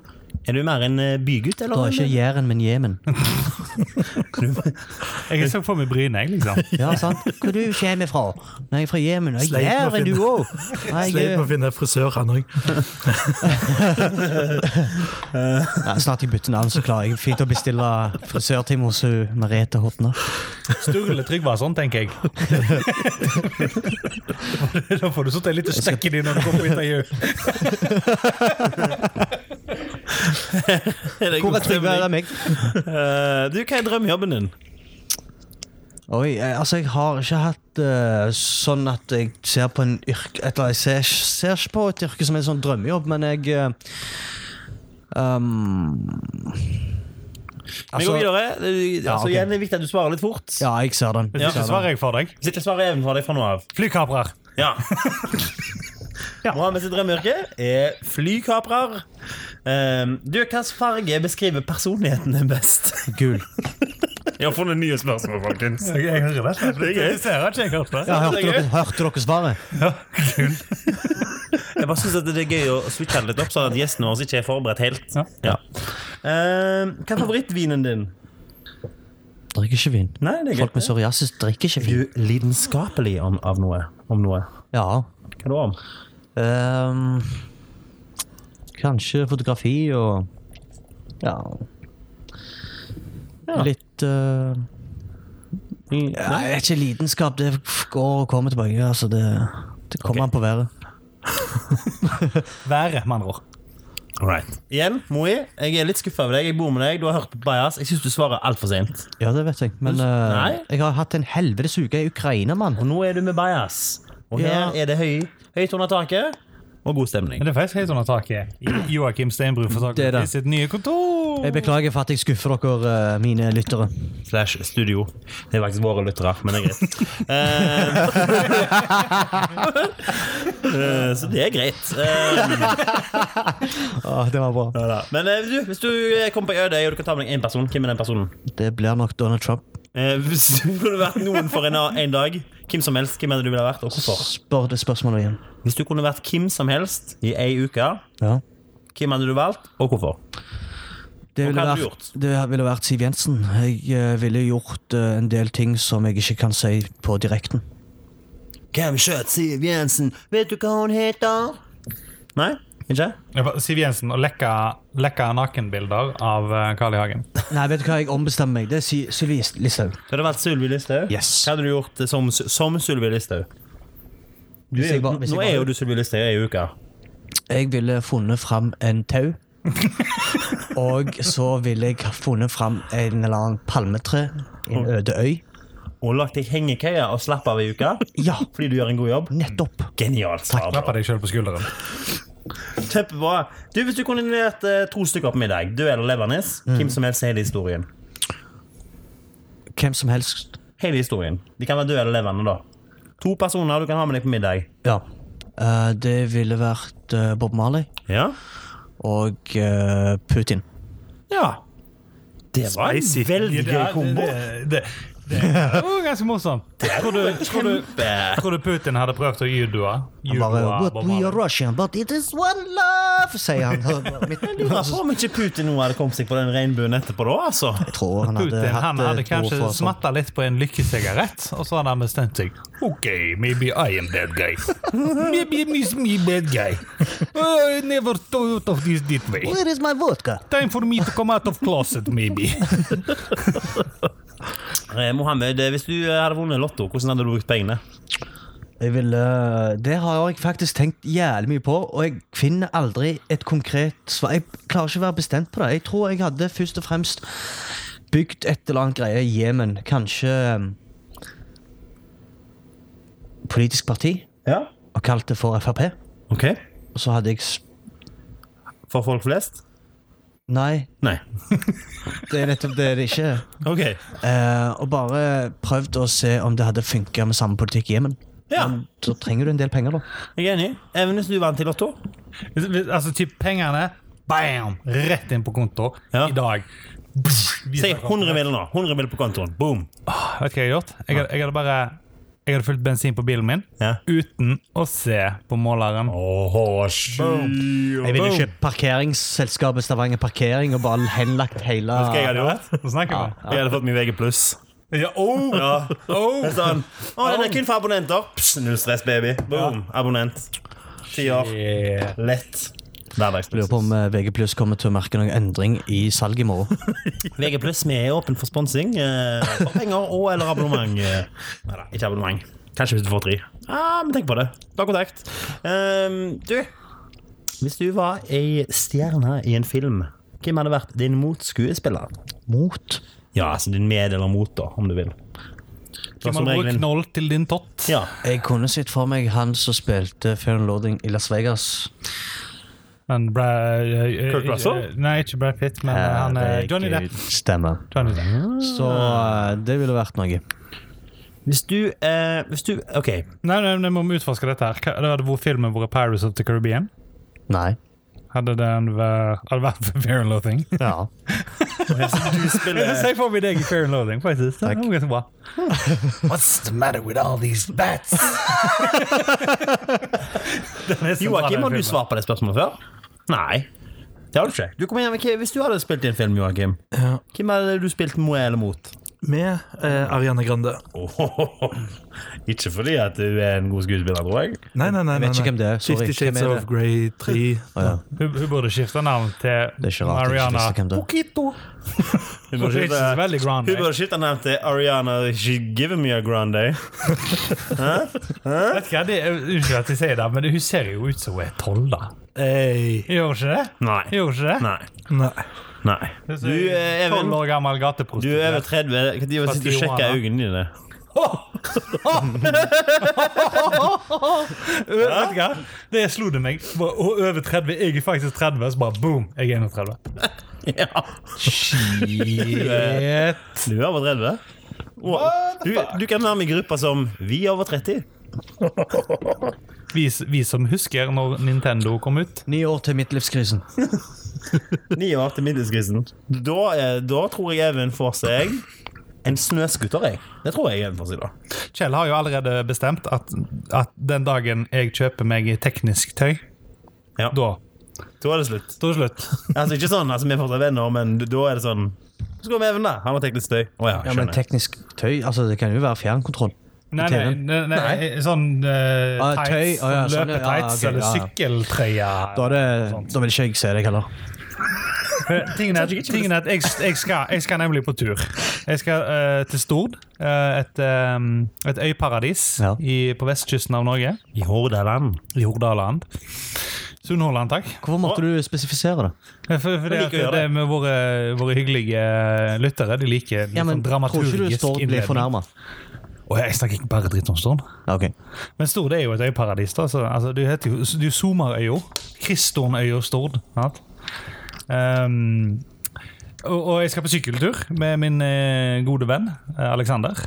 S2: Er du mer en eh, bygutt, eller?
S5: Da er ikke Jæren, men Jemen.
S3: Jeg så for meg Bryne, jeg, liksom.
S5: Ja, sant? Hvor du kommer fra? Nei, jeg er fra Jemen. Og
S4: Sleit
S5: jeg
S4: med å
S5: er Jæren, du
S4: finne-
S5: òg! Nei,
S4: Sleit
S5: jeg-
S4: med å finne frisør, han òg.
S5: Nei, Snart jeg bytter navn, så klarer jeg fint å bestille frisørtime hos hun Merete Hotne.
S3: Sturle Tryggvason, tenker jeg. da får du satt en liten støkk i dem når du går på intervju.
S2: Er det
S5: Hvor
S2: god
S5: er Trygve? Det
S2: stemning?
S5: er meg.
S2: Eh, du, hva er drømmejobben din?
S5: Oi, eh, altså, jeg har ikke hatt eh, sånn at jeg ser på en yrke et eller annet, Jeg ser, ser ikke på et yrke som en sånn drømmejobb, men jeg eh, um,
S2: Vi går
S5: Altså,
S2: videre. Eh,
S5: Ja,
S2: Altså,
S5: ok.
S2: igjen, det er viktig at du svarer litt fort.
S5: ja, jeg ser den.
S3: Det svarer jeg for deg.
S2: Hvis ikke svarer Even for deg fra nå av.
S3: Flykaprer.
S2: Ja. Mohammed sitt drømmeyrke er flykaprer. Ehm, du, hvilken farge beskriver personligheten din best?
S5: Gul.
S2: Jeg har funnet nye spørsmål, folkens.
S3: Jeg, jeg hører det.
S2: Det er gøy.
S3: Jeg ser at jeg ikke har hørt det.
S5: Ja, hørte, dere, hørte dere svaret?
S2: Jeg bare synes at det er gøy å switche det litt opp, sånn at gjestene våre ikke er forberedt helt.
S3: Ja.
S2: Ja. Ehm, hva er favorittvinen din?
S5: Drikker ikke vin.
S2: Nei, det er
S5: Folk med psoriasis drikker ikke vin.
S2: Du er lidenskapelig om, av noe. Om noe.
S5: Ja.
S2: Hva da om?
S5: ehm, kanskje fotografi og Ja. Litt eh, Mm, Nei, det er ikke lidenskap. Det går og kommer tilbake. Altså det, det kommer an på været.
S3: Været, med andre ord.
S2: Alright. Igjen, Moi, jeg er litt skuffa over deg. Jeg bor med deg, du har hørt på Bajas. Jeg syns du svarer altfor sent.
S5: Ja, det vet jeg. Men eh,
S2: Nei.
S5: jeg har hatt en helvetes uke i Ukraina, mann.
S2: Og nå er du med Bajas. Og
S5: Ja.
S2: her er det høy, høyt under taket og god stemning.
S3: Men det er faktisk helt under taket i Joakim Steinbru for
S5: Det er
S3: taket
S5: det.
S3: i sitt nye kontor.
S5: Jeg beklager for at jeg skuffer dere, eh, mine lyttere.
S2: Slash studio. Det er faktisk våre lyttere, men det er greit. Eh, eh, så det er greit. Eh,
S5: Ah, det var bra.
S2: men eh, du, hvis du kommer på øde og du kan ta med deg én person, hvem er den personen?
S5: Det blir nok Donald Trump.
S2: Eh, hvis du kunne vært noen for en, en dag, hvem som helst, hvem er det du ville vært, og hvorfor?
S5: Spør det spørsmålet igjen.
S2: Hvis du kunne vært hvem som helst i ei uke,
S5: Ja.
S2: hvem hadde du valgt, og hvorfor?
S5: Det
S2: Og
S5: ville,
S2: hva hadde du
S5: vært, det ville vært Siv Jensen. Jeg eh, ville gjort eh, en del ting som jeg ikke kan si på direkten.
S1: Hvem skjøt Siv Jensen? Vet du hva hun heter?
S2: Nei? Ikke?
S3: Det var Siv Jensen og lekka, lekka nakenbilder av eh, Carl I. Hagen.
S5: Nei, vet du hva, jeg ombestemmer meg. Det er Sy- Sylvi Listhaug.
S2: Du hadde vært Sylvi Listhaug?
S5: Yes.
S2: Hva hadde du gjort som, som Sylvi Listhaug? Du
S5: Hvis
S2: er
S5: jeg
S2: jo-
S5: var- hvis jeg
S2: Nå
S5: var-
S2: er jo du Sylvi Listhaug i ei uke.
S5: Jeg ville funnet fram en tau. Og så ville jeg ha funnet fram en eller annen palmetre i en øde øy.
S2: og lagt deg hengekøye og slapp av i uka
S5: Ja,
S2: fordi du gjør en god jobb.
S5: nettopp.
S2: Genialt svar.
S3: Klappa deg sjøl på skulderen.
S2: Kjempebra. Du, Hvis du kunne levert eh, to stykker på middag, død eller levende, hvem som helst er hele historien.
S5: Hvem som helst.
S2: Hele historien. De kan være døde eller levende, da. To personer du kan ha med deg på middag.
S5: Ja. Eh, Det ville vært eh, Bob Marley
S2: Ja.
S5: og eh, Putin.
S2: ja. Det var en
S4: Spicy.
S2: veldig gøy kombo.
S3: Det, det, det, det var ganske morsomt. Tror du, tror, du,
S2: Kjempe.
S3: tror du Putin hadde prøvd å judoa?
S5: Han bare
S3: Judoa
S5: What
S3: Bob
S5: we are
S3: Marley?
S5: Russian, but it is one love, sier han.
S2: Lurer på om ikke Putin nå hadde kommet seg på den regnbuen etterpå, da, altså.
S5: Jeg tror han hadde
S3: Putin
S5: hatt
S3: han hadde
S5: et ord
S3: kanskje
S5: for sånn.
S3: smatta litt på en lykkesigarett, og så hadde han bestemt seg. OK, maybe I am that guy. Maybe miss me bad guy. I never thought of this this way.
S5: Where is my vodka?
S3: Time for me to come out of closet, maybe.
S2: Eh, Mohammed, eh, hvis du eh, hadde vunnet Lotto, hvordan hadde du brukt pengene?
S5: Jeg ville, det har jeg faktisk tenkt jævlig mye på, og jeg finner aldri et konkret svar. Jeg klarer ikke å være bestemt på det. Jeg tror jeg hadde først og fremst bygd et eller annet greie i Jemen. Kanskje um, politisk parti,
S2: Ja.
S5: og kalt det for Frp.
S2: Ok.
S5: Og så hadde jeg s-
S2: For folk flest?
S5: Nei,
S2: Nei.
S5: det er nettopp det det ikke er.
S2: Ok.
S5: Eh, og bare prøvd å se om det hadde funka med samme politikk i Jemen.
S2: Ja.
S5: Men Da trenger du en del penger, da.
S2: Jeg er enig. Even hvis du vant i Lotto?
S3: Hvis- hvis- Altså, typ pengene Bam! Rett inn på konto
S2: Ja.
S3: i dag.
S2: Si 100 mil nå. 100 mil på kontoen. Boom.
S3: Vet du hva jeg hadde gjort? Jeg hadde, jeg hadde bare Jeg hadde fylt bensin på bilen min
S2: Ja.
S3: uten å se på måleren.
S5: Jeg ville kjøpt parkeringsselskapet Stavanger Parkering og bare henlagt hele
S2: Hva jeg hadde gjort?
S3: Nå snakker vi.
S2: Jeg hadde fått min VG+.
S3: Ja, oh,
S2: Ja.
S3: oh.
S2: Det er Sånn. Å, den er kun for abonnenter. Pss, null stress, baby. Boom. Abonnent. Ti år.
S3: Yeah.
S2: Lett.
S5: Lurer på om eh, VG kommer til å merke noen endring i salget i morgen.
S2: VG+, vi er åpen for sponsing. eh, For penger og eller abonnement. eh. Neida, ikke abonnement. Kanskje hvis du får tre. Ja, men tenk på det. Ta kontakt. Ehm, du, hvis du var ei stjerne i en film, hvem hadde vært din motskuespiller?
S5: Mot.
S2: Ja, altså din med eller mot, da, om du vil. Det var
S3: Hvem
S2: som
S3: har
S2: regelen-
S3: knoll til din tott?
S2: Ja.
S5: Jeg kunne sett for meg han som spilte Fair and Loading i Las Vegas.
S3: Men Bra, eh, eh,
S2: Kurt Russell?
S3: eh, Nei, ikke Brad Pitt, men eh, han, eh, Johnny Depp.
S5: Stemmer.
S3: Johnny Depp.
S5: Så eh, det ville vært noe.
S2: Hvis du, eh, hvis du OK.
S3: Nei, nei, nei, må vi utforske dette her. Hva- Hadde hvor filmen vært Pirates of the Caribbean?
S5: Nei.
S3: Hadde den vært, hadde det vært Fear and Loathing?
S5: Ja.
S2: Du
S3: Jeg
S2: spiller
S3: ser for meg deg i Fear and Loathing, faktisk. Det var ganske bra.
S1: What's the matter with all these bats?
S2: Joakim, har du svart på det spørsmålet før? Nei. Det har du ikke. Du kom igjen, men hva- Hvis du hadde spilt i en film, Joakim,
S4: Ja.
S2: hvem hadde du spilt med eller mot?
S4: Med eh, Ariana Grande.
S2: Ikke fordi at du er en god skuespiller, tror jeg.
S4: Nei, nei, nei.
S5: vet
S4: nei,
S5: ikke
S4: nei.
S5: hvem det er, sorry.
S4: Fifty Shades
S5: Hvem er
S4: of
S5: det?
S4: Grey 3.
S3: Hun, hun burde skifte navn til
S5: Det er ikke rart jeg ikke
S3: Mariana
S5: visste hvem det er.
S2: Poquito. Hun
S3: Hun er ikke så veldig grand, eh?
S2: burde skifte navn til Ariana She Giving Me A Grande.
S3: Vet ikke, det er, Unnskyld at jeg sier det, men hun ser jo ut som hun er tolv, da.
S4: Hey.
S3: Gjør hun ikke det?
S2: Nei.
S3: Gjør hun ikke det?
S2: Nei.
S4: Nei.
S2: Nei. Du, eh, Even,
S3: 12 år
S2: du
S3: gammel
S2: er over
S3: gateprostituert.
S2: 30. Når sitter du og
S3: Tijuana.
S2: sjekker øynene dine?
S3: Ø- Vet du hva? Det slo det meg. Bare, å, Over 30. Jeg er faktisk 30, så bare boom, jeg er 31.
S2: Ja.
S3: Eh. Shit.
S2: Du er over 30. Og, du, du kan være med i gruppa som Vi er over 30.
S3: Vi, s- vi som husker når Nintendo kom ut.
S5: Ni år til midtlivskrisen.
S2: Ni år til middelskrisen. Da, eh, da tror jeg Even får seg en snøskuter, jeg. Det tror jeg Even får seg da.
S3: Kjell har jo allerede bestemt at, at den dagen jeg kjøper meg teknisk tøy,
S2: Ja.
S3: da
S2: Da er det slutt.
S3: Da er det slutt.
S2: Altså Ikke sånn altså, vi er fortsatt venner, men da er det sånn Så går vi Even, da. Han har teknisk støy. Å ja,
S5: Ja, men
S2: skjønner.
S5: teknisk tøy Altså, det kan jo være fjernkontroll.
S3: Nei, nei, nei, nei, sånn eh,
S5: Ah,
S3: tights,
S5: tøy, ah, ja, sånn, ja,
S3: løpetights
S5: ja, ok,
S3: eller
S5: ja, ja.
S3: sykkeltrøye.
S5: Da, er det, da vil ikke jeg se deg heller.
S3: Eh, Tingen er, tingen er at jeg, jeg, skal, jeg skal nemlig på tur. Jeg skal eh, til Stord, eh, et, eh, et øyparadis
S5: Ja.
S3: i, på vestkysten av Norge.
S2: I Hordaland.
S3: I Hordaland. Sunnhordland, takk. Eh,
S5: Hvorfor måtte du spesifisere det?
S3: For, for det,
S2: Jeg
S3: at
S2: liker å gjøre
S3: det med våre, våre hyggelige lyttere. De liker litt
S5: Ja, men
S3: sånn
S5: Tror
S3: dramaturgisk
S5: ikke du Stord blir fornærma?
S3: Å, jeg snakker ikke bare dritt om Stord.
S5: Ja, ok.
S3: Men Stord er jo et øyparadis. da så, altså, Du heter jo du er Somarøya. Kristonøya Stord. sant? Ehm, og, og jeg skal på sykkeltur med min eh, gode venn eh, Alexander.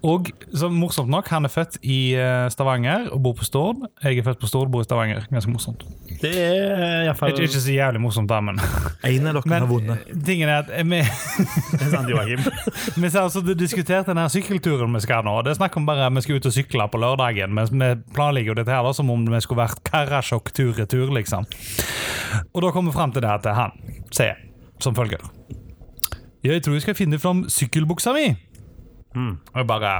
S3: Og så morsomt nok, han er født i eh, Stavanger og bor på Stord. Jeg er født på Stord, bor i Stavanger. Ganske morsomt.
S2: Det er eh, iallfall
S3: Ikke, ikke så jævlig morsomt, da, men,
S4: En av dere
S3: men
S4: har vunnet.
S3: tingen er at eh, vi,
S2: sant, Joakim.
S3: vi har altså diskutert denne sykkelturen vi skal nå. Det er snakk om bare at vi skal ut og sykle på lørdagen, men vi planlegger jo dette her da, som om vi skulle vært Karasjok tur-retur, liksom. Og da kommer vi fram til det at han sier som følger Jeg tror jeg skal finne fram sykkelbuksa mi. Og jeg bare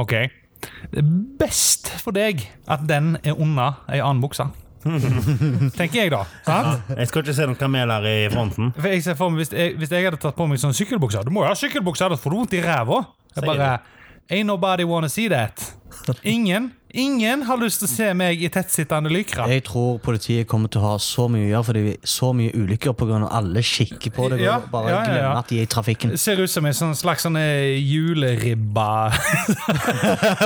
S3: OK. Det er best for deg at den er unna ei annen bukse. Tenker jeg, da. Sant?
S2: Jeg skal ikke se noen kameler i fronten.
S3: For jeg ser for meg, hvis jeg, hvis jeg hadde tatt på meg sånn sykkelbukser Du må jo ha sykkelbukser, ellers får du vondt i ræva. Jeg bare Ain't nobody wanna see that. Ingen ingen har lyst til å se meg i tettsittende lykra.
S5: Jeg tror politiet kommer til å ha så mye å gjøre, fordi vi så mye ulykker pga. alle kikker på deg
S3: Ja,
S5: og
S3: ja,
S5: bare
S3: ja, ja.
S5: glemmer at de er i trafikken.
S3: Ser ut som en sånn slags sånn eh, juleribba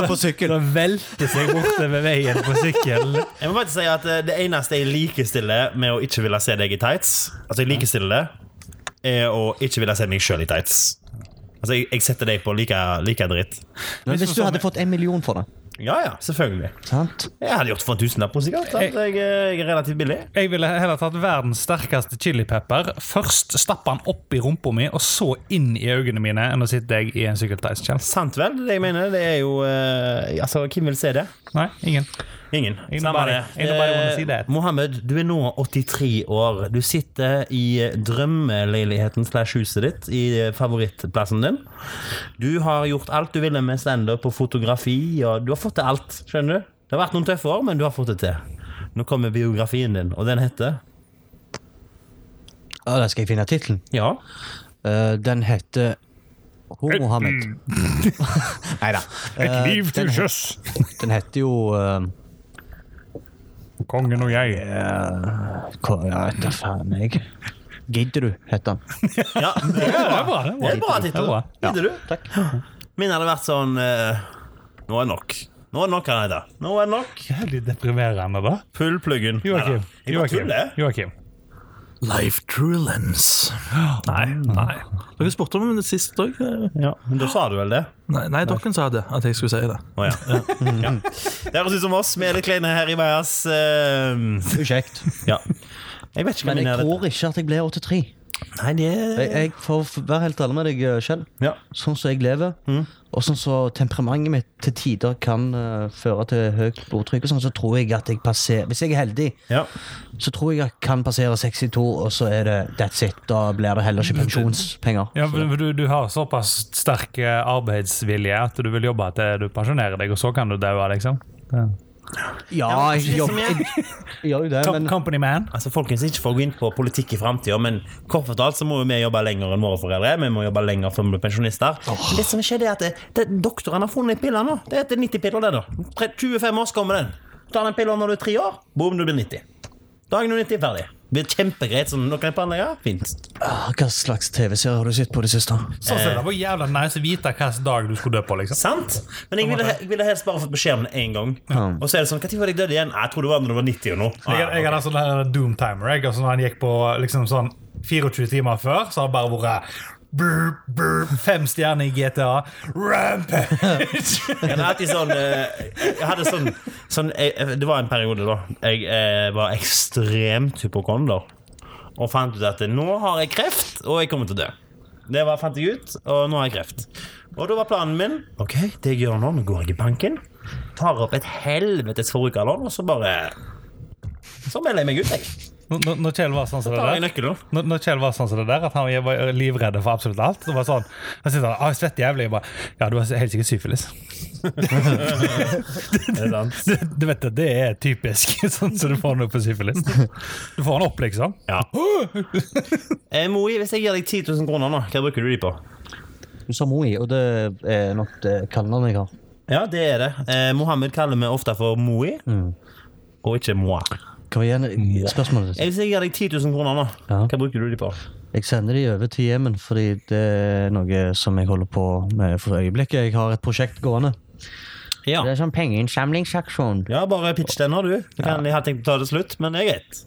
S5: På sykkel.
S3: som velter seg bortover veien på sykkel.
S2: Jeg må faktisk si at eh, Det eneste jeg likestiller med å ikke ville se deg i tights, Altså jeg likestiller det, er å ikke ville se meg sjøl i tights. Altså Jeg, jeg setter deg på like, like dritt.
S5: Men hvis du hadde fått en million for det,
S2: Ja ja, selvfølgelig.
S5: sant?
S2: Jeg hadde gjort for en tusenlapp, sikkert. sant? Jeg, eh, jeg er relativt billig.
S3: Jeg ville heller tatt verdens sterkeste chilipepper. Først stappe den opp i rumpa mi, og så inn i øynene mine, enn å sitte jeg i en sykkelteis. Kjell.
S2: Sant vel? Det jeg mener, det er jo eh, Altså, hvem vil se det?
S3: Nei, ingen.
S2: Ingen.
S3: Ain't
S2: Samme
S3: nobody-
S2: det.
S3: ain't nobody wanna see that.
S2: Eh, Mohammed, du er nå 83 år. Du sitter i drømmeleiligheten slash huset ditt i eh, favorittplassen din. Du har gjort alt du ville med standup og fotografi, og du har fått til alt. Skjønner du? Det har vært noen tøffe år, men du har fått det til. Nå kommer biografien din, og den heter
S5: Ja, da skal jeg finne tittelen.
S2: Ja.
S5: Eh, den heter Hor Mohammed. Nei da. Eh, den, he-
S3: sjøs.
S5: den heter jo eh,
S3: Kongen og jeg.
S5: Hva ja, vet da faen jeg. Gidder du, heter den.
S2: ja. Det
S3: Ja, det er bra. Det
S2: er en bra
S3: Det er
S2: tittel.
S3: bra.
S2: Gidder du? Takk. Min hadde vært sånn eh, Nå er det nok. Nå er det nok, kan jeg hete. Nå er det nok.
S3: Jævlig deprimerende, da.
S2: Pull pluggen.
S3: Joakim.
S2: Neida. Jeg bare
S3: Joakim.
S2: tuller.
S3: Joakim.
S4: Life Truelance.
S3: Nei. nei.
S4: Dere spurte om det sist òg.
S2: Ja, men da sa du vel det?
S4: Nei, nei dere sa det, at jeg skulle si det.
S2: Å ja. ja. ja. Det høres ut som oss. Vi er litt kleine her i Bajas. eh,
S5: Kjekt.
S2: ja. Jeg vet ikke hva
S5: Men
S2: min
S5: jeg
S2: er. dette.
S5: tror ikke at jeg blir 83.
S2: Nei, det er
S5: Jeg, jeg får f- være helt ærlig med deg eh, selv.
S2: Ja.
S5: Sånn som jeg lever,
S2: Mm.
S5: og sånn som temperamentet mitt til tider kan eh, føre til høyt blodtrykk, og sånn, så tror jeg at jeg passerer Hvis jeg er heldig,
S2: ja.
S5: så tror jeg jeg kan passere 62, og så er det that's it. Da blir det heller ikke pensjonspenger.
S3: Ja, men du, du har såpass sterk eh, arbeidsvilje at du vil jobbe til du pensjonerer deg, og så kan du daue, liksom?
S5: Ja, jeg jobber jeg, jeg gjør jo det,
S3: Com
S5: men
S3: company man.
S2: Altså, Folkens, ikke for å gå inn på politikk i framtida, men kort fortalt så må jo vi jobbe lenger enn våre foreldre. Vi må jobbe lenger før vi blir pensjonister. Men Det som skjer, det er at det, det, doktorene har funnet piller nå. Det heter 90 piller, det, da. Tre- 25 år så kommer den. Ta den pilla når du er tre år. Boom, du blir 90. Dagen du er 90, er ferdig. Det blir kjempegreit. Sånn, nå kan jeg planlegge. Fint.
S5: ah, hva slags TV-serie har du sett på det siste?
S3: Sånn som det var jævla nice å vite hvilken dag du skulle dø på, liksom.
S2: Sant? Men jeg ville, jeg ville helst bare fått beskjed om det én gang. Og så er det sånn Når var det jeg døde igjen? «Nei, Jeg tror det var når du var 90 og noe. Ah,
S3: Jeg, jeg hadde en sånn her doom timer. Jeg, og så når han gikk på liksom sånn 24 timer før, så har det bare vært brr, brr, Fem stjerner i GTA. Rampage!
S2: Jeg hadde alltid sånn, eh, jeg hadde sånn, sånn jeg, jeg- Det var en periode da jeg eh, var ekstremt hypokonder. Og fant ut at nå har jeg kreft, og jeg kommer til å dø. Det var, fant jeg ut, og nå har jeg kreft. Og da var planen min Ok, det jeg gjør nå, nå går jeg i banken, tar opp et helvetes forbrukerlån, og så bare Så melder jeg meg ut, jeg.
S3: Når- Når når Kjell var sånn som det
S2: Da har jeg
S3: der
S2: nøkkelen.
S3: når, når Kjell var sånn som det der, at han var livredd for absolutt alt Det var sånn, Han sitter der, ah, jeg svetter jævlig. Jeg bare, ja, du har helt sikkert syfilis.
S2: Er det sant?
S3: Du, du vet det, det er typisk sånn som du får noe på syfilis. Du får den opp, liksom.
S2: Ja. Eh, Moi, hvis jeg gir deg 10 000 kroner nå, hva bruker du de på?
S5: Du sa Moi, og det er nok det kallenavnet jeg har.
S2: Ja, det Mm. er det. Eh, Mohammed kaller vi ofte for Moi, og ikke Moi.
S5: Hva var igjen spørsmålet ditt?
S2: Jeg vil si jeg gir deg 10 000 kroner nå.
S5: Ja.
S2: Hva bruker du de på?
S5: Jeg sender de over til Jemen, fordi det er noe som jeg holder på med for øyeblikket. Jeg har et prosjekt gående.
S2: Ja,
S5: Det er sånn pengeinnsamlingsaksjon.
S2: bare pitch den her, du. Du kan, jeg hadde tenkt å ta det slutt, men det er greit.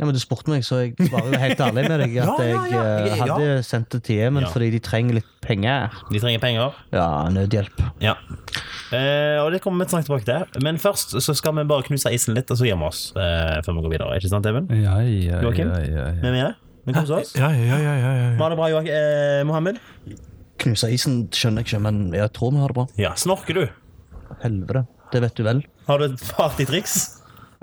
S5: Ja, men Du spurte meg, så jeg svarer jo helt ærlig med deg at
S2: Ja, ja, ja,
S5: jeg eh,
S2: ja.
S5: hadde sendt det til Jemen
S2: Ja.
S5: fordi de trenger litt penger.
S2: De trenger penger.
S5: Ja, nødhjelp.
S2: Ja. Eh, og det kommer vi snart tilbake til. Men først så skal vi bare knuse isen litt, og så gir vi oss eh, før vi går videre. Ikke sant, Even?
S3: Ja, ja,
S2: Joakim? Vi er med det? Vi koser oss?
S4: Ja, ja, ja, ja, ja, ja.
S2: Var det bra, Joak eh, Mohammed?
S5: Knuse isen skjønner jeg ikke, men jeg tror vi har det bra.
S2: Ja. Snorker du?
S5: Helvete. Det vet du vel.
S2: Har du et partytriks?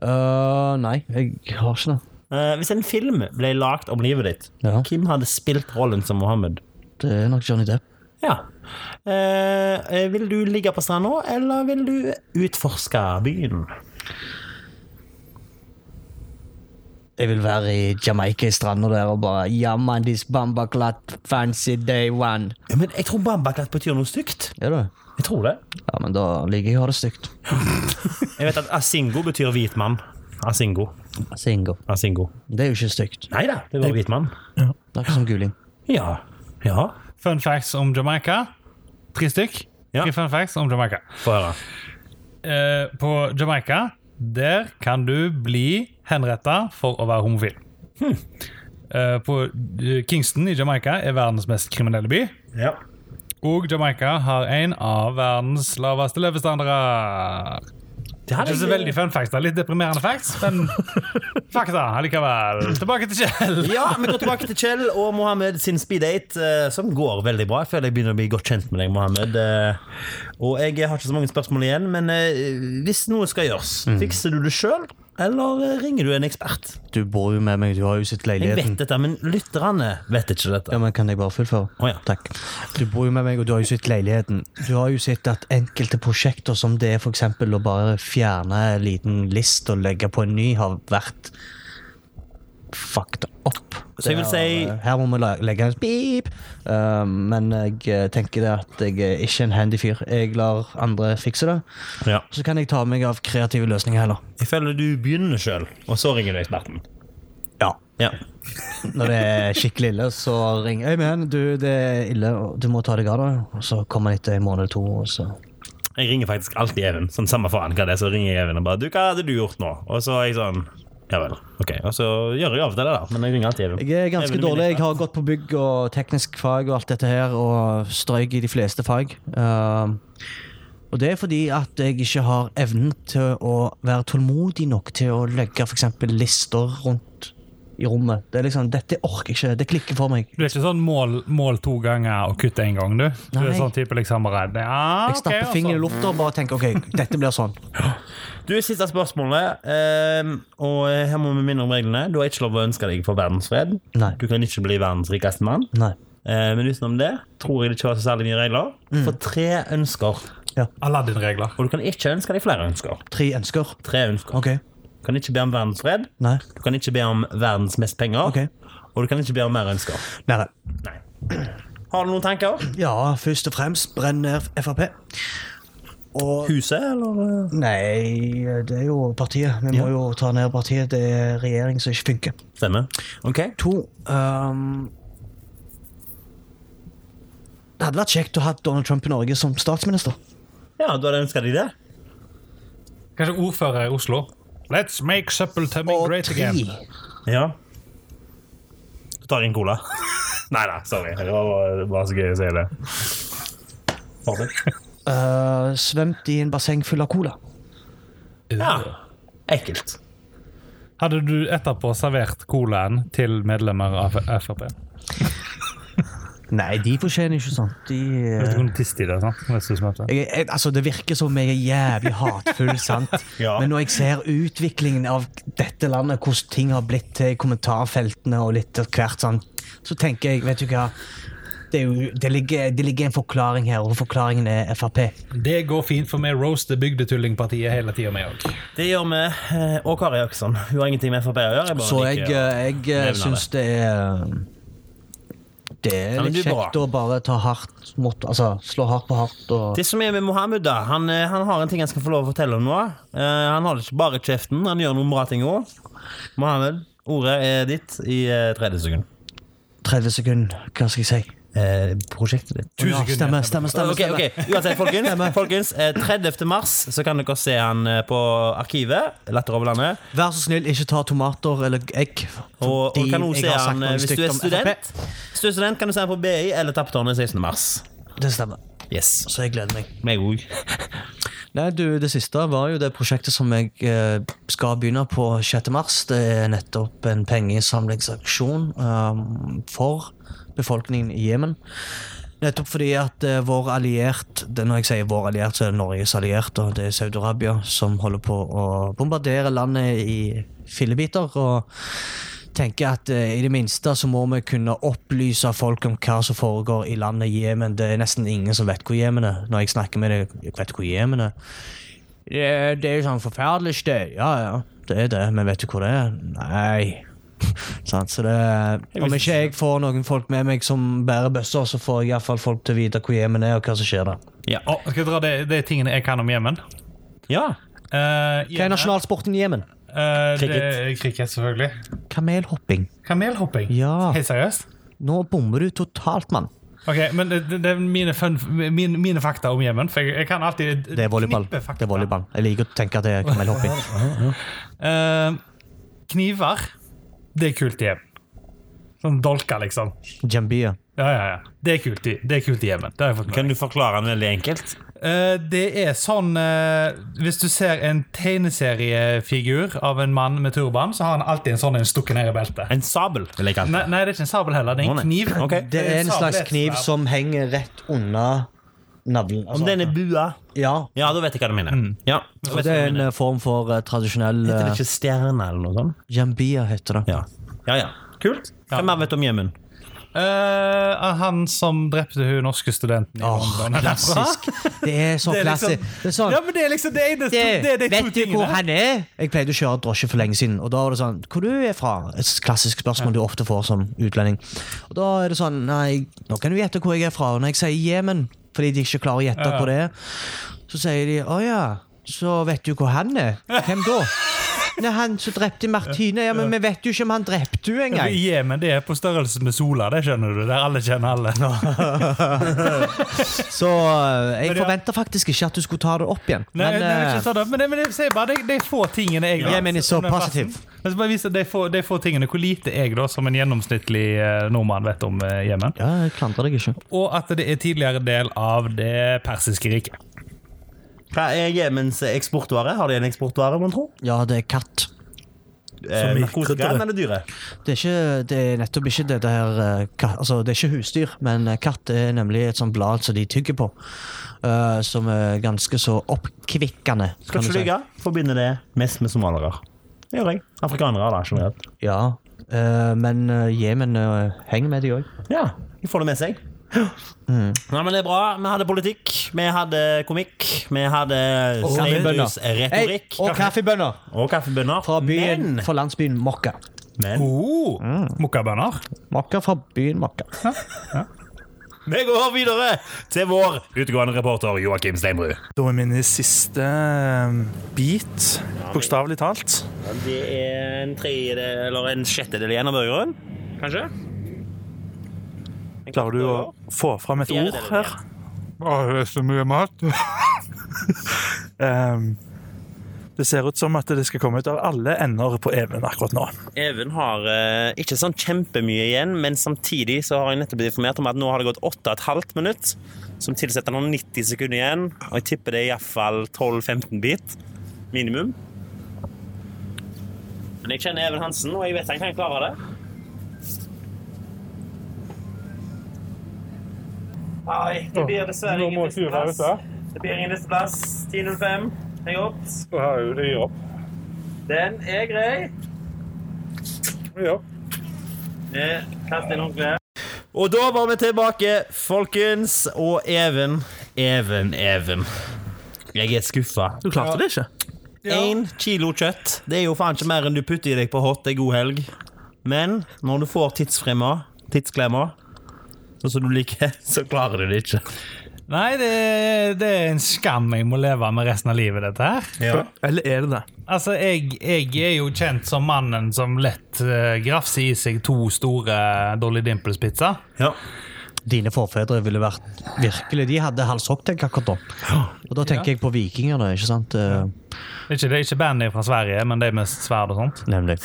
S5: Øh, nei, jeg har ikke det.
S2: Eh, hvis en film ble lagd om livet ditt,
S5: Ja.
S2: hvem hadde spilt rollen som Mohammed?
S5: Det er nok Johnny Depp.
S2: Ja. Eh, eh, vil du ligge på stranda, eller vil du utforske byen?
S5: Jeg vil være i Jamaica i stranda der og bare Yeah man, this bambaklat fancy day one.
S2: Ja, men Jeg tror bambaklatt betyr noe stygt.
S5: Er du?
S2: Jeg tror det.
S5: Ja, men da liker jeg å ha det stygt.
S2: Jeg vet at asingo betyr hvit mann. Asingo.
S5: Singo.
S2: Asingo.
S5: Det er jo ikke stygt.
S2: Nei da, det var hvit mann.
S5: Det er ikke som guling.
S2: Ja. Ja.
S3: Fun facts om Jamaica. Tre stykk.
S2: Ja.
S3: Tre fun facts om Jamaica.
S2: Få høre.
S3: Eh, på Jamaica, der kan du bli henretta for å være homofil.
S2: Hm.
S3: Eh, på eh, Kingston i Jamaica er verdens mest kriminelle by.
S2: Ja.
S3: Og Jamaica har en av verdens laveste levestandarder.
S2: Det hadde
S3: Ikke så veldig fun facts, da. Litt deprimerende facts, men fakta allikevel. Tilbake til Kjell.
S2: Ja, Vi går tilbake til Kjell og Mohammed sin speeddate, eh, som går veldig bra. Jeg føler jeg begynner å bli godt kjent med deg, Mohammed. Eh, og jeg har ikke så mange spørsmål igjen, men eh, hvis noe skal gjøres,
S5: Mm.
S2: fikser du det sjøl, eller eh, ringer du en ekspert?
S5: Du bor jo med meg, du har jo sett
S2: Jeg vet
S5: leiligheten.
S2: dette, men lytterne vet ikke
S5: Ja,
S2: dette.
S5: men Kan jeg bare fullføre?
S2: Å ja.
S5: Takk. Du bor jo med meg, og du har jo sett leiligheten. Du har jo sett at enkelte prosjekter, som det er for eksempel å bare fjerne en liten list og legge på en ny, har vært fucked opp.
S2: Så jeg vil
S5: Det
S2: si-
S5: har- eh, Her må vi la- legge en beep. Eh, men jeg eh, tenker det at jeg er ikke en handy fyr. Jeg lar andre fikse det.
S2: Ja.
S5: Så kan jeg ta meg av kreative løsninger heller.
S2: Jeg føler du begynner sjøl, og så ringer du eksperten.
S5: Ja.
S2: Ja.
S5: Når det er skikkelig ille, så ringer jeg med Du, det er ille, og du må ta deg av det. Og så kommer han etter en måned eller to, og så
S2: Jeg ringer faktisk alltid Even. Sånn samme faen hva det er, så ringer jeg Even og bare 'Du, hva hadde du gjort nå?' Og så er jeg sånn Ja vel. Ok, og så gjør jeg avtale, da. Men jeg ringer alltid Even.
S5: Jeg er ganske
S2: Even
S5: dårlig.
S2: Minette.
S5: Jeg har gått på bygg og teknisk fag og alt dette her, og strøyk i de fleste fag. Ehm, og det er fordi at jeg ikke har evnen til å være tålmodig nok til å legge for eksempel lister rundt i rommet. Det er liksom, Dette orker jeg ikke. Det klikker for meg.
S3: Du er ikke sånn mål, mål to ganger og kutt én gang, du? Du er
S5: Nei.
S3: sånn type liksom redd. Ja, altså.
S5: Jeg stapper fingeren i lufta og bare tenker OK, dette blir sånn.
S2: Du, siste spørsmålet, ehm, og her må vi minne om reglene. Du har ikke lov å ønske deg for verdensfred.
S5: Nei.
S2: Du kan ikke bli verdens rikeste mann.
S5: Nei.
S2: Eh, Men utenom det tror jeg det ikke var så særlig mye regler.
S5: Mm.
S2: For tre ønsker.
S3: Aladdin-regler.
S2: Og du kan ikke ønske deg flere ønsker.
S5: Tre ønsker.
S2: Tre ønsker.
S5: OK.
S2: Du kan ikke be om verdensfred.
S5: Nei.
S2: Du kan ikke be om verdens mest penger.
S5: Ok.
S2: Og du kan ikke be om mer ønsker.
S5: Nei, nei.
S2: Nei. Har du noen tanker?
S5: Ja, først og fremst brenn ned Frp. Og
S2: Huset, eller? eh,
S5: Nei, det er jo partiet. Vi må jo ta ned partiet. Det er regjering som ikke funker.
S2: Stemmer. Ok.
S5: To ehm, Det hadde vært kjekt å ha Donald Trump i Norge som statsminister.
S2: Ja, du hadde ønska deg det?
S3: Kanskje ordfører i Oslo. Let's make suppletummy
S5: Og
S3: great
S5: tre
S3: again.
S2: Ja. Du tar en cola. Nei da, sorry. Det var bare- bare så gøy å si det. Fortsett.
S5: eh, svømt i en basseng full av cola.
S2: Ja. Ekkelt.
S3: Hadde du etterpå servert colaen til medlemmer av Frp?
S5: Nei, de fortjener ikke sånt. De, eh,
S3: Du kunne tiste i det, sant? Hvis du smøtte.
S5: jeg, jeg, altså, det virker som jeg er jævlig hatefull, sant?
S2: Ja.
S5: Men når jeg ser utviklingen av dette landet, hvordan ting har blitt til i kommentarfeltene og litt av hvert sånn, så tenker jeg, vet du hva det, er jo, det, ligger, det ligger en forklaring her, og forklaringen er Frp.
S3: Det går fint, for vi roaster bygdetullingpartiet hele altså. tida, vi òg.
S2: Det gjør vi. eh, Og Kari Jaksson. Hun har ingenting med Frp å gjøre. Jeg eh, bare
S5: Så jeg, eh,
S2: liker å-
S5: jeg,
S2: nevne
S5: syns det er eh, Det er
S2: Ja, men
S5: litt
S2: du er bra.
S5: kjekt å bare ta hardt mot Altså slå hardt på hardt og
S2: Det som er med Mohammed, da han, eh, han har en ting han skal få lov å fortelle om nå. Eh, han har det ikke bare i kjeften, han gjør noen bra ting òg. Mohammed, ordet er ditt i eh, 30 sekunder.
S5: 30 sekunder, hva skal jeg si?
S2: Eh, prosjektet ditt.
S5: Ja, stemme, stemme, stemme.
S2: Ok, ok, uansett folkens, folkens eh, 30. mars så kan dere se han eh, på arkivet Latter over landet
S5: Vær så snill, ikke ta tomater eller egg.
S2: Og, og
S5: fordi
S2: kan også
S5: jeg
S2: se
S5: har sagt
S2: han
S5: noe
S2: eh, hvis du
S5: stygt
S2: er
S5: om
S2: student
S5: FrP.
S2: Hvis du er student kan du se han på BI eller Tapptårnet 16. mars
S5: Det stemmer.
S2: Yes,
S5: Så jeg gleder meg.
S2: meg og
S5: Nei, du, Det siste var jo det prosjektet som jeg eh, skal begynne på 6. mars. Det er nettopp en pengeinnsamlingsaksjon um, for befolkningen i Jemen. Nettopp fordi at eh, vår alliert det, Når jeg sier vår alliert, så er det Norges alliert, og det er Saudi-Arabia som holder på å bombardere landet i fillebiter. Og tenker at eh, i det minste så må vi kunne opplyse folk om hva som foregår i landet Jemen. Det er nesten ingen som vet hvor Jemen er. Når jeg snakker med deg, jeg vet hvor Jemen er. Det, er- det er jo sånn forferdelig sted. Ja, ja, det er det. Men vet du hvor det er? Nei. Sant, så det, om ikke jeg får noen folk med meg som bærer bøsser, så får jeg iallfall folk til å vite hvor Jemen er, og hva som skjer der.
S3: skal jeg dra det, det er tingene jeg kan om Jemen?
S2: Ja,
S3: Uh,
S5: Hva er nasjonalsporten i Jemen?
S3: Cricket. Eh, Cricket, selvfølgelig.
S5: Kamelhopping.
S3: Kamelhopping.
S5: Ja.
S3: Helt seriøst?
S5: Nå bommer du totalt, mann.
S3: Ok, men det, det- det er mine, fun, mine, mine fakta om Jemen. For jeg, jeg kan alltid
S5: Det er volleyball.
S3: knippe fakta.
S5: Det er volleyball. Jeg liker å tenke at det er kamelhopping.
S3: Eh, kniver, det er kult i Jemen. Sånn dolker, liksom.
S5: Jambia.
S3: Ja, ja, ja. Det er kult i, det er kult i Jemen. Det har jeg fått med meg.
S2: kan du forklare han veldig enkelt?
S3: Eh, det er sånn eh, Hvis du ser en tegneseriefigur av en mann med turban, så har han alltid en sånn en stukket ned i beltet.
S2: En sabel, vil jeg kalle
S3: Nei, nei, det er ikke en sabel heller. Det er
S2: Å, nei.
S3: en kniv.
S2: Ok.
S5: Det er
S3: eh,
S5: en slags kniv som henger rett unna navlen.
S2: Om
S5: Altså,
S2: den er Mm. bua
S5: ja.
S2: Ja, da vet jeg hva du mener Ja, da
S5: Og
S2: vet
S5: det
S2: jeg hva
S5: er
S2: du
S5: en
S2: mener.
S5: eh, form for eh, tradisjonell
S2: Heter det
S5: eh,
S2: ikke stjerne eller noe sånt?
S5: Jambia, heter det.
S2: Ja, ja, ja. Kult Hva mer vet du om Jemen?
S3: Eh, han som drepte hun norske studenten i
S5: Åh,
S3: London.
S5: klassisk. Det er så
S3: Det er
S5: klassisk.
S3: liksom-
S5: Det er sånn
S3: Ja, men det er liksom det ene det,
S5: det,
S3: det, er de to
S5: Vet du hvor
S3: tingene.
S5: han er? Jeg pleide å kjøre drosje for lenge siden, og da var det sånn Hvor du er fra? Et klassisk spørsmål du ofte får som utlending. Og da er det sånn Nei, nå kan du gjette hvor jeg er fra. Og når jeg sier Jemen, fordi de ikke klarer å gjette hvor det er, så sier de Å ja, så vet du hvor han er? Hvem da? drepte han som drepte Martine? Ja, Men vi vet jo ikke om han drepte henne engang.
S3: Jemen det er på størrelse med Sola, det skjønner du. Der alle kjenner alle.
S5: Så eh, jeg
S3: Men ja.
S5: forventer faktisk ikke at du skulle ta det opp igjen.
S3: Nei,
S5: Men
S3: nei, ikke
S5: eh,
S3: sånn, men, det, men det, se bare, det, det er få tingene jeg
S5: Jemen er så positiv.
S3: Men så bare viser det, er få- det er få tingene hvor lite jeg da, som en gjennomsnittlig eh, nordmann vet om eh, Jemen.
S5: ja, jeg klandrer deg ikke.
S3: Og at det er tidligere del av det persiske riket.
S2: Hva er Jemens eksportvare? Har de en eksportvare, man tror?
S5: Ja, det er katt.
S2: Eh,
S4: i
S2: Narkotikaen
S4: krydderet.
S2: eller dyret?
S5: Det er, ikke, det er nettopp ikke det der eh, ka- Altså, det er ikke husdyr, men eh, katt er nemlig et sånt blad som de tygger på. eh, som er ganske så oppkvikkende.
S2: Skal ikke lyge. Forbinder det mest med somaliere. Det gjør jeg. Afrikanere, da, generelt.
S5: Ja, eh, men eh, Jemen eh, henger med de òg.
S2: Ja, de får det med seg. Nei, men det er bra. Vi hadde politikk, vi hadde komikk, vi hadde retorikk
S5: og kaffebønner
S2: og kaffebønner.
S5: fra byen,
S2: Men,
S5: fra landsbyen Mokka.
S2: men
S3: Oh,
S5: Mm.
S3: Mokkabønner.
S5: Mokka fra byen Mokka.
S2: vi går videre til vår utegående reporter Joakim Steinbrud.
S4: Da er min siste um, bit, bokstavelig talt.
S2: Det er en tredjedel eller en sjettedel igjen av burgeren. Kanskje?
S4: Klarer du å få fram et ord
S2: Fjerdedelen
S4: her?
S8: det er så mye mat.
S4: Um, det ser ut som at det skal komme ut av alle ender på Even akkurat nå.
S2: Even har eh, ikke sånn kjempemye igjen, men samtidig så har jeg nettopp blitt informert om at nå har det gått 8,5 minutt, som tilsetter noen 90 sekunder igjen, og jeg tipper det er iallfall 12-15 bit, minimum. Men jeg kjenner Even Hansen, og jeg vet han kan klare det. Nei, det blir dessverre
S8: Nå må
S2: ingen
S8: ikke du være
S2: listeplass.
S8: ute.
S2: Det blir ingen listeplass. 10.05 er gjort.
S8: Så har jeg jo det opp.
S2: Den er grei.
S8: Ja.
S2: Kast inn håndkleet. Og da var vi tilbake, folkens. Og Even, Even, Even. Jeg er skuffa.
S4: Du klarte det ikke.
S2: Én kilo kjøtt. Det er jo faen ikke mer enn du putter i deg på hot ei god helg. Men når du får tidsfremma, tidsklemma, sånn som du liker, så klarer du det ikke.
S3: Nei, det, det er en skam jeg må leve med resten av livet, dette her.
S4: Eller er det det?
S3: Altså, jeg, jeg er jo kjent som mannen som lett eh, grafser i seg to store eh, Dolly Dimples-pizza.
S2: Ja.
S5: Dine forfedre ville vært virkelig De hadde Hals Hocktail akkurat da. Og da tenker jeg på vikingene, ikke sant? Eh,
S3: Det er Ikke, det er ikke bandet fra Sverige, men det er med sverd og sånt.
S5: Nemlig.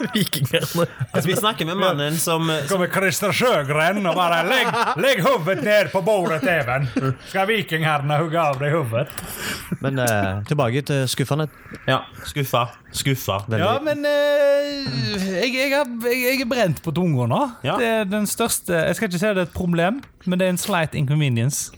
S2: Altså, vi snakker med mannen som,
S3: Kommer Christer Sjøgren og bare legg, legg hodet ned på bordet, Even. Skal vikingherrene hugge av deg hodet?
S5: Men eh, tilbake til skuffene.
S2: Ja, skuffa. Skuffa.
S3: Ja, men eh, jeg, jeg, har, jeg, jeg er brent på tunga nå.
S2: Ja.
S3: Det er den største Jeg skal ikke si det er et problem, men det er en slight inconvenience.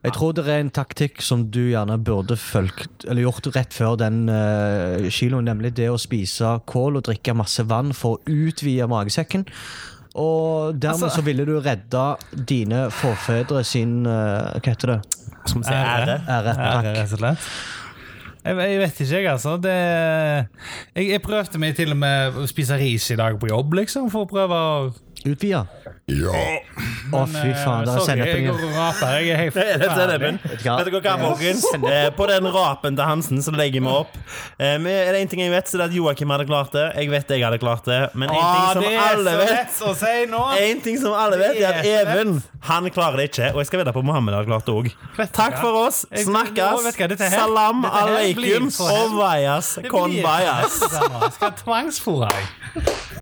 S5: Jeg tror det er en taktikk som du gjerne burde følgt, eller gjort rett før den eh, kiloen, nemlig det å spise kål og drikke masse vann for å utvide magesekken. Og dermed
S3: Altså-
S5: så ville du redda dine forfedre sin eh, Hva heter det?
S2: Som sier ære.
S3: Ære,
S5: Ære. Takk.
S3: rett og slett. Jeg, jeg vet ikke, jeg, altså. Det, jeg, jeg prøvde meg til og med å spise ris i dag på jobb, liksom, for å prøve å
S5: Utvide. Å, fy faen,
S3: Eh, sorry,
S5: det er
S3: Jeg
S5: sennepinger.
S3: går og raper. Jeg er helt
S2: Det er det
S3: ferdig.
S2: sennepen.
S5: Vet du hva?
S2: Vet dere hva, folkens? Eh, På den rapen til Hansen så legger vi opp. Eh, men Er det en ting jeg vet, så er det at Joakim hadde klart det. Jeg vet jeg hadde klart det. Men en ting
S3: Ah,
S2: som
S3: det er
S2: alle
S3: så
S2: vet
S3: lett å si nå!
S2: en ting som alle vet, er at
S3: Det er
S2: Even han klarer det ikke. Og jeg skal vedde på at Mohammed har klart det òg. Takk for oss.
S3: Jeg- Nå, vet du hva, dette
S2: Snakkes.
S3: her-
S2: Salam
S3: dette her blir
S2: aleikum.
S3: så-
S2: Ovayas.
S3: Det blir-
S2: Konbayas.
S3: Jeg skal tvangsfôre deg.